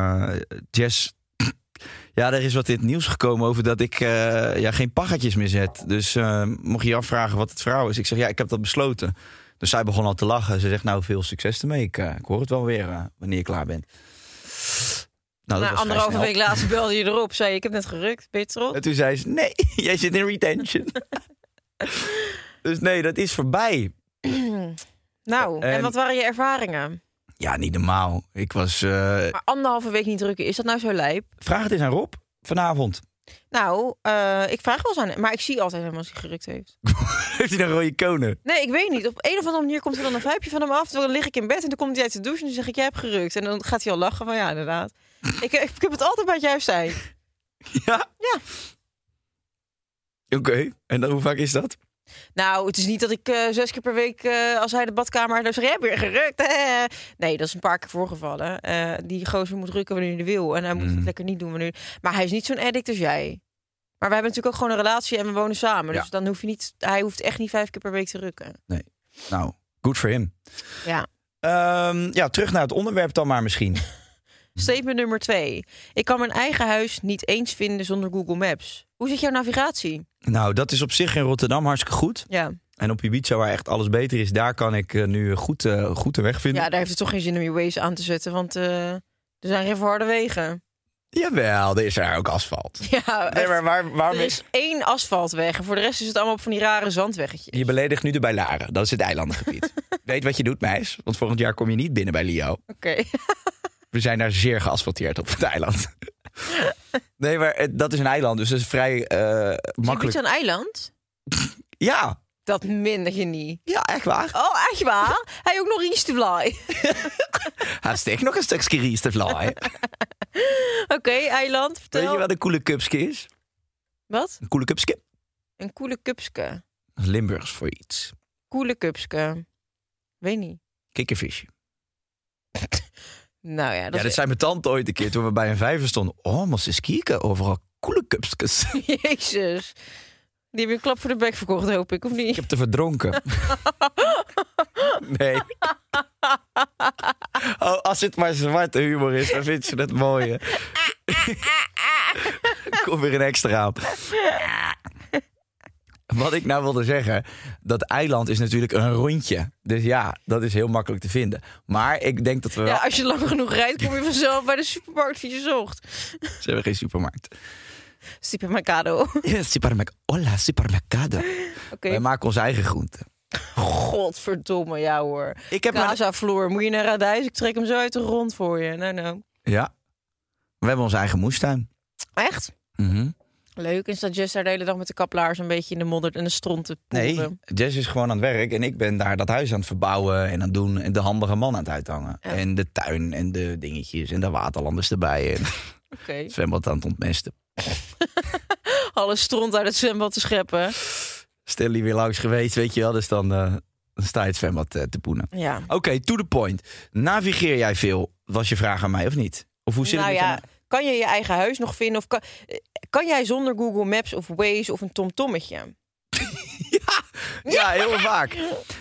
Speaker 1: eh, Jess... Ja, er is wat in het nieuws gekomen over dat ik eh, ja, geen paggetjes meer zet. Dus eh, mocht je je afvragen wat het verhaal is. Ik zeg, ja, ik heb dat besloten. Dus zij begon al te lachen. Ze zegt, nou, veel succes ermee. Ik, eh, ik hoor het wel weer eh, wanneer je klaar bent. Nou,
Speaker 5: Na
Speaker 1: was vrij
Speaker 5: anderhalve
Speaker 1: snel.
Speaker 5: week later belde je erop. Zei je, ik heb net gerukt. Ben je trots?
Speaker 1: En toen zei ze, nee, jij zit in retention. dus nee, dat is voorbij.
Speaker 5: Nou, en,
Speaker 1: En-
Speaker 5: Nou, wat waren je ervaringen?
Speaker 1: Ja, niet normaal. Ik was... eh,
Speaker 5: Maar anderhalve week niet drukken, is dat nou zo lijp?
Speaker 1: Vraag het eens aan Rob vanavond.
Speaker 5: Nou, eh, ik vraag wel eens aan hem, maar ik zie altijd hem als hij gerukt heeft.
Speaker 1: Heeft hij dan rode konen?
Speaker 5: Nee, ik weet niet. Op een of andere manier komt er dan een vijpje van hem af. Dan lig ik in bed en dan komt hij uit de douche en dan zeg ik, jij hebt gerukt. En dan gaat hij al lachen van, ja, inderdaad. ik, ik, heb het altijd bij het juist zijn.
Speaker 1: Ja?
Speaker 5: Ja.
Speaker 1: Oké, en dan, hoe vaak is dat?
Speaker 5: Nou, het is niet dat ik eh, zes keer per week, eh, als hij de badkamer uit heeft, zeg jij hebt weer gerukt. hè?" Nee, dat is een paar keer voorgevallen. Eh, die gozer moet rukken wanneer hij wil. En hij moet
Speaker 1: Mhm.
Speaker 5: het lekker niet doen wanneer... Maar hij is niet zo'n addict als jij. Maar wij hebben natuurlijk ook gewoon een relatie en we wonen samen. Dus
Speaker 1: Ja.
Speaker 5: dan hoef je niet... Hij hoeft echt niet vijf keer per week te rukken.
Speaker 1: Nou, good for him.
Speaker 5: Ja.
Speaker 1: Ehm, ja, terug naar het onderwerp dan maar misschien.
Speaker 5: Statement nummer twee. Ik kan mijn eigen huis niet eens vinden zonder Google Maps. Hoe zit jouw navigatie?
Speaker 1: nou, dat is op zich in Rotterdam hartstikke goed.
Speaker 5: Ja,
Speaker 1: En op Ibiza, waar echt alles beter is, daar kan ik eh, nu goed, eh, goed de weg vinden.
Speaker 5: ja daar heeft het toch geen zin om je Waze aan te zetten, want... eh, er zijn geen verharde wegen.
Speaker 1: Jawel, er is daar ook asfalt.
Speaker 5: Ja,
Speaker 1: Nee, maar waar, waarom
Speaker 5: Er is één asfaltweg en voor de rest is het allemaal op van die rare zandweggetjes.
Speaker 1: Je beledigt nu de Bijlaren, dat is het eilandengebied. Weet wat je doet, meis, want volgend jaar kom je niet binnen bij Lio.
Speaker 5: Oké.
Speaker 1: We zijn daar zeer geasfalteerd op het eiland. nee, maar eh, dat is een eiland, dus dat is vrij eh,
Speaker 5: Makkelijk.
Speaker 1: makkelijk.
Speaker 5: Is een eiland?
Speaker 1: Ja,
Speaker 5: Dat minder je niet.
Speaker 1: ja, echt waar.
Speaker 5: Oh, echt waar? Hij ook nog iets te fly.
Speaker 1: Hartstikke nog een stukje ries te vlaaien.
Speaker 5: Oké, eiland, vertel.
Speaker 1: Weet je wat een coole cupske is?
Speaker 5: Wat?
Speaker 1: Een coole cupske?
Speaker 5: Een koele kupske.
Speaker 1: Dat is Limburgs voor iets.
Speaker 5: Koele kupske. Weet niet.
Speaker 1: Kikkervisje.
Speaker 5: Nou ja, dat,
Speaker 1: ja, dat
Speaker 5: is...
Speaker 1: zei mijn tante ooit een keer toen we bij een vijver stonden. Oh, maar ze kieken overal coole cupskes. ik
Speaker 5: Jezus. Die heb je een klap voor de bek verkocht, hoop ik, of niet?
Speaker 1: heb te verdronken. nee. Oh, als het maar zwarte humor is, dan vind je het mooi. hè. Kom weer een extra aan. Wat ik nou wilde zeggen, dat eiland is natuurlijk een rondje. Dus ja, dat is heel makkelijk te vinden. Maar ik denk dat we wel...
Speaker 5: Ja, als je lang genoeg rijdt, kom je vanzelf bij de supermarkt die je zocht.
Speaker 1: Ze hebben geen supermarkt.
Speaker 5: Supermercado. Oké,
Speaker 1: Supermercado. Hola, supermercado. Wij maken onze eigen groenten.
Speaker 5: godverdomme, ja hoor.
Speaker 1: Ik heb mijn...
Speaker 5: Casa Floor, moet je naar Radijs? Ik trek hem zo uit de grond voor je. Nou, nou.
Speaker 1: Ja. We hebben onze eigen moestuin.
Speaker 5: Echt?
Speaker 1: Mhm.
Speaker 5: Leuk. En staat Jess daar de hele dag met de kaplaars een beetje in de modder en de stront te
Speaker 1: Nee,
Speaker 5: poepen?
Speaker 1: Jess is gewoon aan het werk en ik ben daar dat huis aan het verbouwen en aan het doen en de handige man aan het uithangen.
Speaker 5: Ja.
Speaker 1: En de tuin en de dingetjes en de waterlanders erbij en het
Speaker 5: Oké.
Speaker 1: zwembad aan het ontmesten.
Speaker 5: Alle stront uit het zwembad te scheppen.
Speaker 1: Stel die weer langs geweest, weet je wel, dus dan, eh, dan sta je het zwembad eh, te poenen.
Speaker 5: Ja.
Speaker 1: Oké, to the point. Navigeer jij veel? Was je vraag aan mij of niet? Of hoe zit
Speaker 5: nou
Speaker 1: het met
Speaker 5: ja,
Speaker 1: jou?
Speaker 5: kan je je eigen huis nog vinden? Of kan, eh, kan jij zonder Google Maps of Waze of een tomtommetje?
Speaker 1: Ja, heel vaak.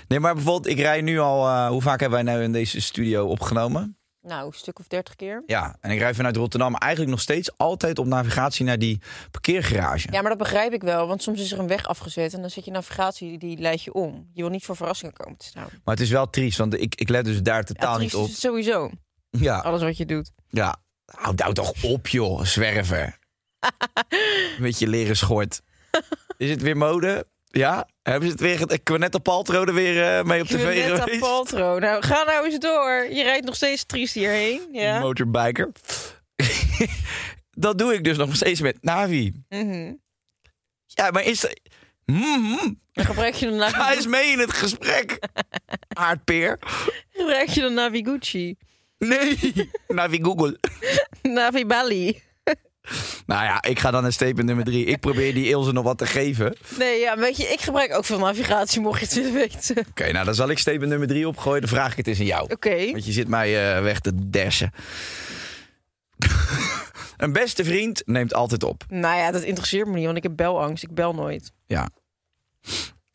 Speaker 1: Nee, maar bijvoorbeeld, ik rij nu al. eh, hoe vaak hebben wij nou in deze studio opgenomen?
Speaker 5: Nou, een stuk of dertig keer.
Speaker 1: Ja, en ik rij vanuit Rotterdam eigenlijk nog steeds altijd op navigatie naar die parkeergarage.
Speaker 5: Ja, maar dat begrijp ik wel, want soms is er een weg afgezet en dan zet je navigatie, die leidt je om. Je wil niet voor verrassingen komen te staan.
Speaker 1: Maar het is wel triest, want ik, ik let dus daar totaal
Speaker 5: Advies
Speaker 1: niet
Speaker 5: is
Speaker 1: op.
Speaker 5: het sowieso,
Speaker 1: Ja,
Speaker 5: alles wat je doet.
Speaker 1: ja. Houd nou toch op, joh, zwerver. Met je leren schort. Is het weer mode? Ja? Hebben ze het weer... ge- Quanetta Paltrow er weer eh, mee op tv
Speaker 5: Quinetta
Speaker 1: geweest?
Speaker 5: Paltrow. Nou, ga nou eens door. Je rijdt nog steeds triest hierheen. Ja.
Speaker 1: Motorbiker. dat doe ik dus nog steeds met Navi.
Speaker 5: Mhm.
Speaker 1: Ja, maar is dat... Mhm.
Speaker 5: Dan gebruik je de
Speaker 1: Hij
Speaker 5: Navi,
Speaker 1: is mee in het gesprek. Aardpeer.
Speaker 5: gebruik je de Navi Gucci.
Speaker 1: Nee. Navi Google.
Speaker 5: Navi Bali.
Speaker 1: Nou ja, ik ga dan naar statement nummer drie. Ik probeer die Ilse nog wat te geven. Oké,
Speaker 5: Nee, ja, weet je, ik gebruik ook veel navigatie, mocht je het willen weten. Oké.
Speaker 1: nou dan zal ik statement nummer drie opgooien. Dan vraag ik het eens aan jou. Want je zit mij eh, weg te dashen. Een beste vriend neemt altijd op.
Speaker 5: Nou ja, dat interesseert me niet, want ik heb belangst. Ik bel nooit.
Speaker 1: Ja.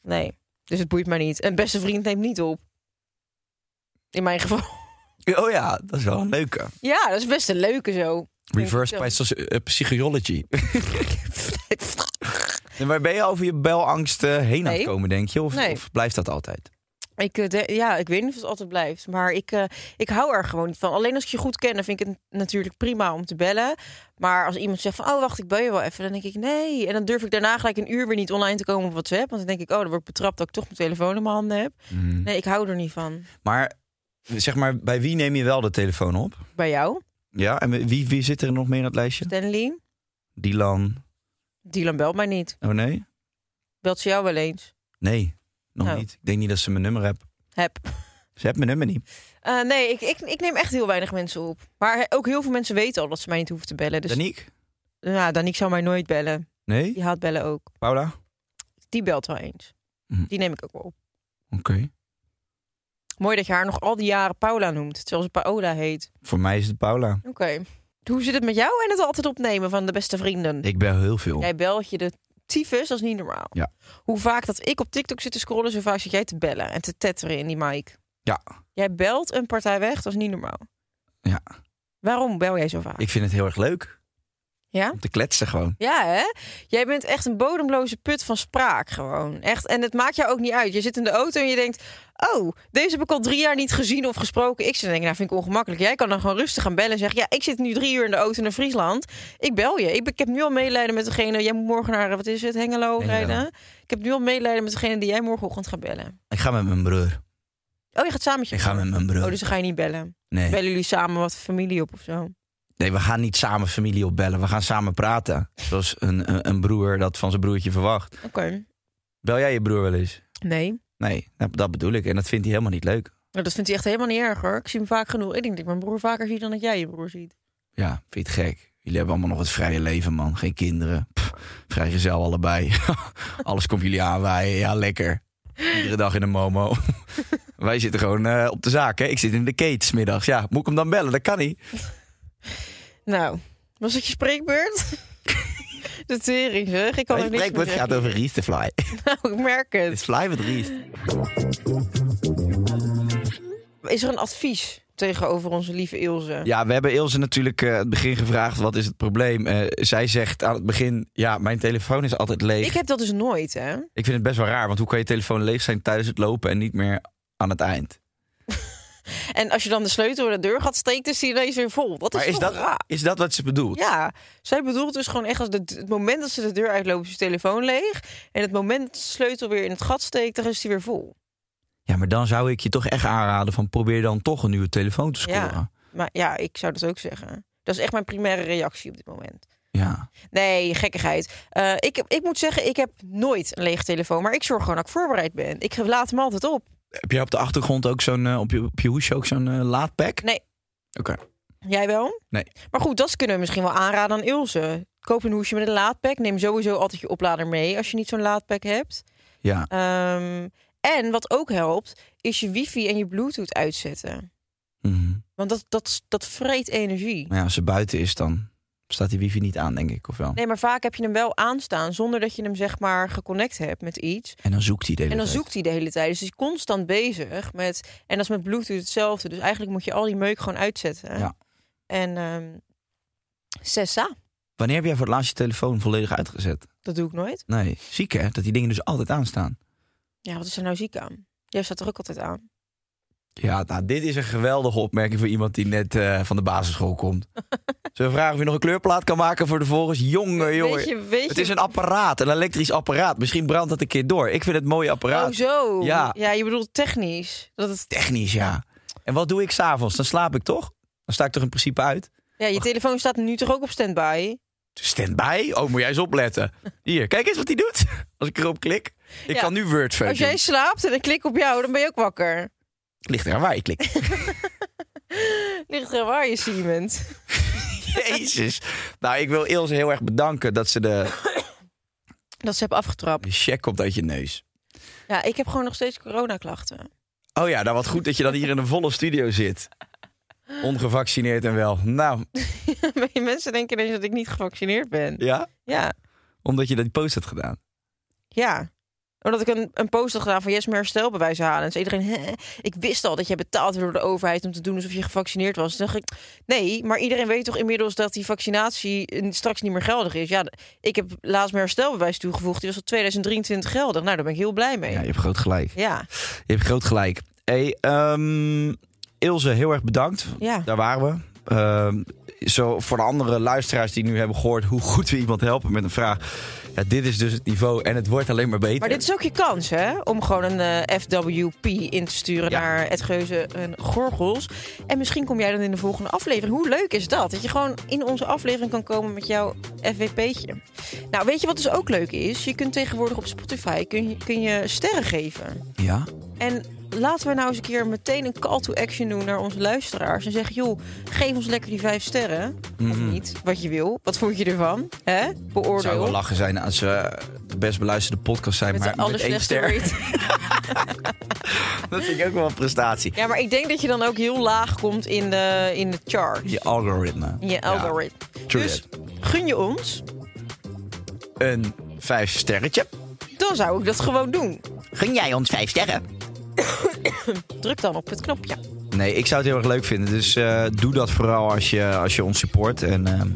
Speaker 5: Nee, dus het boeit mij niet. Een beste vriend neemt niet op. In mijn geval.
Speaker 1: Oh ja, dat is wel een leuke.
Speaker 5: Ja, dat is best een leuke zo.
Speaker 1: Reverse by soci- eh, psychology. Nee, maar ben je over je belangst eh, heen aan
Speaker 5: Nee.
Speaker 1: het komen, denk je? Of,
Speaker 5: Nee.
Speaker 1: of blijft dat altijd?
Speaker 5: Ik, eh, de- ja, ik weet niet of het altijd blijft. Maar ik, eh, ik hou er gewoon niet van. Alleen als ik je goed ken, dan vind ik het natuurlijk prima om te bellen. Maar als iemand zegt van, oh wacht, ik bel je wel even. Dan denk ik, nee. En dan durf ik daarna gelijk een uur weer niet online te komen op
Speaker 1: Mm.
Speaker 5: WhatsApp. Want dan denk ik, oh, dan word ik betrapt dat ik toch mijn telefoon in mijn handen heb. Nee, ik hou er niet van.
Speaker 1: Maar Zeg maar, bij wie neem je wel de telefoon op?
Speaker 5: Bij jou,
Speaker 1: Ja, en wie, wie zit er nog meer in het lijstje?
Speaker 5: Stanley.
Speaker 1: Dylan.
Speaker 5: Dylan belt mij niet.
Speaker 1: Oh nee?
Speaker 5: Belt ze jou wel eens?
Speaker 1: Nee, nog
Speaker 5: Oh.
Speaker 1: niet. Ik denk niet dat ze mijn nummer hebben.
Speaker 5: Heb.
Speaker 1: Ze hebben mijn nummer niet.
Speaker 5: Eh, nee, ik, ik, ik neem echt heel weinig mensen op. Maar he- ook heel veel mensen weten al dat ze mij niet hoeven te bellen. Dus
Speaker 1: Daniek?
Speaker 5: ja, Danique zou mij nooit bellen.
Speaker 1: Nee?
Speaker 5: Die haat bellen ook.
Speaker 1: Paula?
Speaker 5: Die belt wel eens.
Speaker 1: Hm.
Speaker 5: Die neem ik ook wel op.
Speaker 1: Oké.
Speaker 5: Mooi dat je haar nog al die jaren Paula noemt, terwijl ze Paola heet.
Speaker 1: Voor mij is het Paula.
Speaker 5: Oké. Hoe zit het met jou en het altijd opnemen van de beste vrienden?
Speaker 1: Ik bel heel veel.
Speaker 5: Jij belt je de tyfus, dat is niet normaal.
Speaker 1: Ja.
Speaker 5: Hoe vaak dat ik op TikTok zit te scrollen, zo vaak zit jij te bellen en te tetteren in die mic.
Speaker 1: Ja.
Speaker 5: Jij belt een partij weg, dat is niet normaal.
Speaker 1: Ja.
Speaker 5: Waarom bel jij zo vaak?
Speaker 1: Ik vind het heel erg leuk.
Speaker 5: Ja?
Speaker 1: Om te kletsen gewoon.
Speaker 5: Ja, hè? Jij bent echt een bodemloze put van spraak gewoon. Echt. En het maakt jou ook niet uit. Je zit in de auto en je denkt... Oh, deze heb ik al drie jaar niet gezien of gesproken. Ik zit te denken, nou vind ik ongemakkelijk. Jij kan dan gewoon rustig gaan bellen en zeggen... Ja, ik zit nu drie uur in de auto naar Friesland. Ik bel je. Ik, ben- ik heb nu al medelijden met degene... Jij moet morgen naar, eh, wat is het, Hengelo
Speaker 1: Hengelo.
Speaker 5: rijden. Ik heb nu al medelijden met degene die jij morgenochtend gaat bellen.
Speaker 1: Ik ga met mijn broer.
Speaker 5: Oh, je gaat samen met je
Speaker 1: Ik ga met mijn
Speaker 5: Oh,
Speaker 1: broer.
Speaker 5: dus dan ga je niet bellen.
Speaker 1: Nee.
Speaker 5: Bellen jullie samen wat familie op of zo?
Speaker 1: nee, we gaan niet samen familie opbellen. We gaan samen praten. Zoals een, een, een broer dat van zijn broertje verwacht.
Speaker 5: Oké.
Speaker 1: Bel jij je broer wel eens?
Speaker 5: Nee.
Speaker 1: Nee, dat, dat bedoel ik. En dat vindt hij helemaal niet leuk.
Speaker 5: Nou, dat vindt hij echt helemaal niet erg hoor. Ik zie hem vaak genoeg. Ik denk dat ik mijn broer vaker zie dan dat jij je broer ziet.
Speaker 1: Ja, vind je het gek? Jullie hebben allemaal nog het vrije leven, man. Geen kinderen. Pff, vrijgezel allebei. Alles komt jullie aanwaaien. Ja, lekker. Iedere dag in een momo. Wij zitten gewoon eh, op de zaak, hè? Ik zit in de kate 's middags. Ja, moet ik hem dan bellen? Dat kan niet.
Speaker 5: Nou, was het je spreekbeurt? De tering zeg, ik kan
Speaker 1: Mijn
Speaker 5: er niks meer
Speaker 1: spreekwoord gaat
Speaker 5: zeggen.
Speaker 1: over Ries de Fly.
Speaker 5: Nou, ik merk
Speaker 1: Het is
Speaker 5: het.
Speaker 1: Fly met Ries.
Speaker 5: Is er een advies tegenover onze lieve Ilse?
Speaker 1: Ja, we hebben Ilse natuurlijk eh, het begin gevraagd. Wat is het probleem? Eh, zij zegt aan het begin, ja, mijn telefoon is altijd leeg.
Speaker 5: Ik heb dat dus nooit, hè?
Speaker 1: Ik vind het best wel raar, want hoe kan je telefoon leeg zijn tijdens het lopen en niet meer aan het eind?
Speaker 5: En als je dan de sleutel door de deur gaat steken, is die ineens weer vol. Wat is,
Speaker 1: maar is
Speaker 5: toch
Speaker 1: dat,
Speaker 5: raar?
Speaker 1: is dat wat ze bedoelt?
Speaker 5: Ja, zij bedoelt dus gewoon echt als de, het moment dat ze de deur uitloopt, is je telefoon leeg. En het moment dat de sleutel weer in het gat steekt, dan is die weer vol.
Speaker 1: Ja, maar dan zou ik je toch echt aanraden van probeer dan toch een nieuwe telefoon te scoren.
Speaker 5: Ja. Maar ja, ik zou dat ook zeggen. Dat is echt mijn primaire reactie op dit moment.
Speaker 1: Ja.
Speaker 5: Nee, gekkigheid. Eh, ik, ik moet zeggen, ik heb nooit een lege telefoon. Maar ik zorg gewoon dat ik voorbereid ben. Ik laat hem altijd op.
Speaker 1: Heb jij op de achtergrond ook zo'n, eh, op je, op je hoesje ook zo'n eh, laadpack?
Speaker 5: Nee.
Speaker 1: Oké.
Speaker 5: Jij wel?
Speaker 1: Nee.
Speaker 5: Maar goed, dat kunnen we misschien wel aanraden aan Ilse. Koop een hoesje met een laadpack. Neem sowieso altijd je oplader mee als je niet zo'n laadpack hebt.
Speaker 1: Ja.
Speaker 5: Ehm, en wat ook helpt, is je wifi en je bluetooth uitzetten.
Speaker 1: Mhm.
Speaker 5: Want dat, dat, dat vreet energie.
Speaker 1: Maar ja, als ze buiten is, dan staat die wifi niet aan, denk ik, of wel?
Speaker 5: Nee, maar vaak heb je hem wel aanstaan zonder dat je hem zeg maar geconnect hebt met iets.
Speaker 1: En dan zoekt hij de hele
Speaker 5: En dan
Speaker 1: tijd.
Speaker 5: zoekt hij de hele tijd. Dus hij is constant bezig met. En dat is met Bluetooth hetzelfde. Dus eigenlijk moet je al die meuk gewoon uitzetten.
Speaker 1: Ja.
Speaker 5: En ehm Sessa,
Speaker 1: Wanneer heb jij voor het laatst je telefoon volledig uitgezet?
Speaker 5: dat doe ik nooit.
Speaker 1: Nee, ziek hè? Dat die dingen dus altijd aanstaan.
Speaker 5: Ja, wat is er nou ziek aan? Jij staat er ook altijd aan.
Speaker 1: Ja, nou, dit is een geweldige opmerking voor iemand die net eh, van de basisschool komt. Zullen we vragen of je nog een kleurplaat kan maken voor de volgers? Jongen, jongen.
Speaker 5: Weet je, weet
Speaker 1: Het
Speaker 5: je-
Speaker 1: is een apparaat, een elektrisch apparaat. Misschien brandt dat een keer door. Ik vind het een mooi apparaat.
Speaker 5: Oh, zo.
Speaker 1: Ja.
Speaker 5: je bedoelt technisch. Dat het...
Speaker 1: Technisch, ja. En wat doe ik s'avonds? Dan slaap ik toch? Dan sta ik toch in principe uit?
Speaker 5: Ja, je telefoon staat nu toch ook op standby?
Speaker 1: Stand-by? Oh, moet jij eens opletten. Hier, kijk eens wat hij doet. Als ik erop klik. Ik
Speaker 5: Ja.
Speaker 1: kan nu Wordfeud
Speaker 5: Als jij
Speaker 1: doen.
Speaker 5: slaapt en ik klik op jou, dan ben je ook wakker.
Speaker 1: Ligt eraan waar je klikt.
Speaker 5: Ligt er waar je Siemens.
Speaker 1: Jezus. Nou, ik wil Ilse heel erg bedanken dat ze de
Speaker 5: Dat ze heb afgetrapt.
Speaker 1: de check komt uit je neus.
Speaker 5: Ja, ik heb gewoon nog steeds coronaklachten.
Speaker 1: Oh ja, nou wat goed dat je dan hier in een volle studio zit. Ongevaccineerd en wel. Nou,
Speaker 5: Mensen denken ineens dat ik niet gevaccineerd ben.
Speaker 1: ja.
Speaker 5: Ja.
Speaker 1: Omdat je die post hebt gedaan.
Speaker 5: Ja. Omdat ik een, een post had gedaan van yes, meer herstelbewijzen halen. En zei iedereen, "Hè? ik wist al dat jij betaald werd door de overheid om te doen alsof je gevaccineerd was. Toen dacht ik, nee, maar iedereen weet toch inmiddels dat die vaccinatie eh, straks niet meer geldig is. Ja, ik heb laatst mijn herstelbewijs toegevoegd. Die was tot 2023 geldig. Nou, daar ben ik heel blij mee.
Speaker 1: Ja,
Speaker 5: Ja.
Speaker 1: je hebt groot gelijk. Je hebt groot gelijk. Hey, ehm, Ilse, heel erg bedankt.
Speaker 5: Ja.
Speaker 1: Daar waren we. ehm, zo voor de andere luisteraars die nu hebben gehoord hoe goed we iemand helpen met een vraag. Ja, dit is dus het niveau en het wordt alleen maar beter.
Speaker 5: Maar dit is ook je kans, hè? Om gewoon een eh, FWP in te sturen
Speaker 1: Ja.
Speaker 5: naar het Geuze en Gorgels. En misschien kom jij dan in de volgende aflevering. Hoe leuk is dat? Dat je gewoon in onze aflevering kan komen met jouw FWP'tje. Nou, weet je wat dus ook leuk is? Je kunt tegenwoordig op Spotify kun je, kun je sterren geven.
Speaker 1: Ja?
Speaker 5: En laten we nou eens een keer meteen een call to action doen naar onze luisteraars. En zeggen, joh, geef ons lekker die vijf sterren. Of niet, wat je wil. Wat vond je ervan? Hè?
Speaker 1: Het Mhm. zou wel
Speaker 5: Beoordeel.
Speaker 1: lachen zijn als we de best beluisterde podcast zijn,
Speaker 5: Met de
Speaker 1: maar met één
Speaker 5: allerslechtste
Speaker 1: ster.
Speaker 5: rating.
Speaker 1: Dat vind ik ook wel een prestatie.
Speaker 5: Ja, maar ik denk dat je dan ook heel laag komt in de, in de chart.
Speaker 1: Je algoritme.
Speaker 5: In je algoritme.
Speaker 1: true
Speaker 5: dus
Speaker 1: that.
Speaker 5: gun je ons,
Speaker 1: Een vijf sterretje.
Speaker 5: dan zou ik dat gewoon doen.
Speaker 1: Ging jij ons vijf sterren?
Speaker 5: Druk dan op het knopje.
Speaker 1: Nee, ik zou het heel erg leuk vinden. Dus eh, doe dat vooral als je, als je ons support. En ehm,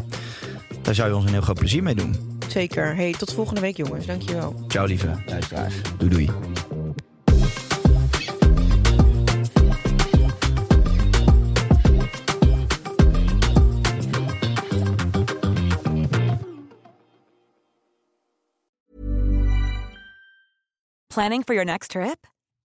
Speaker 1: daar zou je ons een heel groot plezier mee doen.
Speaker 5: Zeker. Hey, tot volgende week jongens. Dankjewel.
Speaker 1: Ciao lieve luisteraars. Doei doei.
Speaker 6: Planning for your next trip?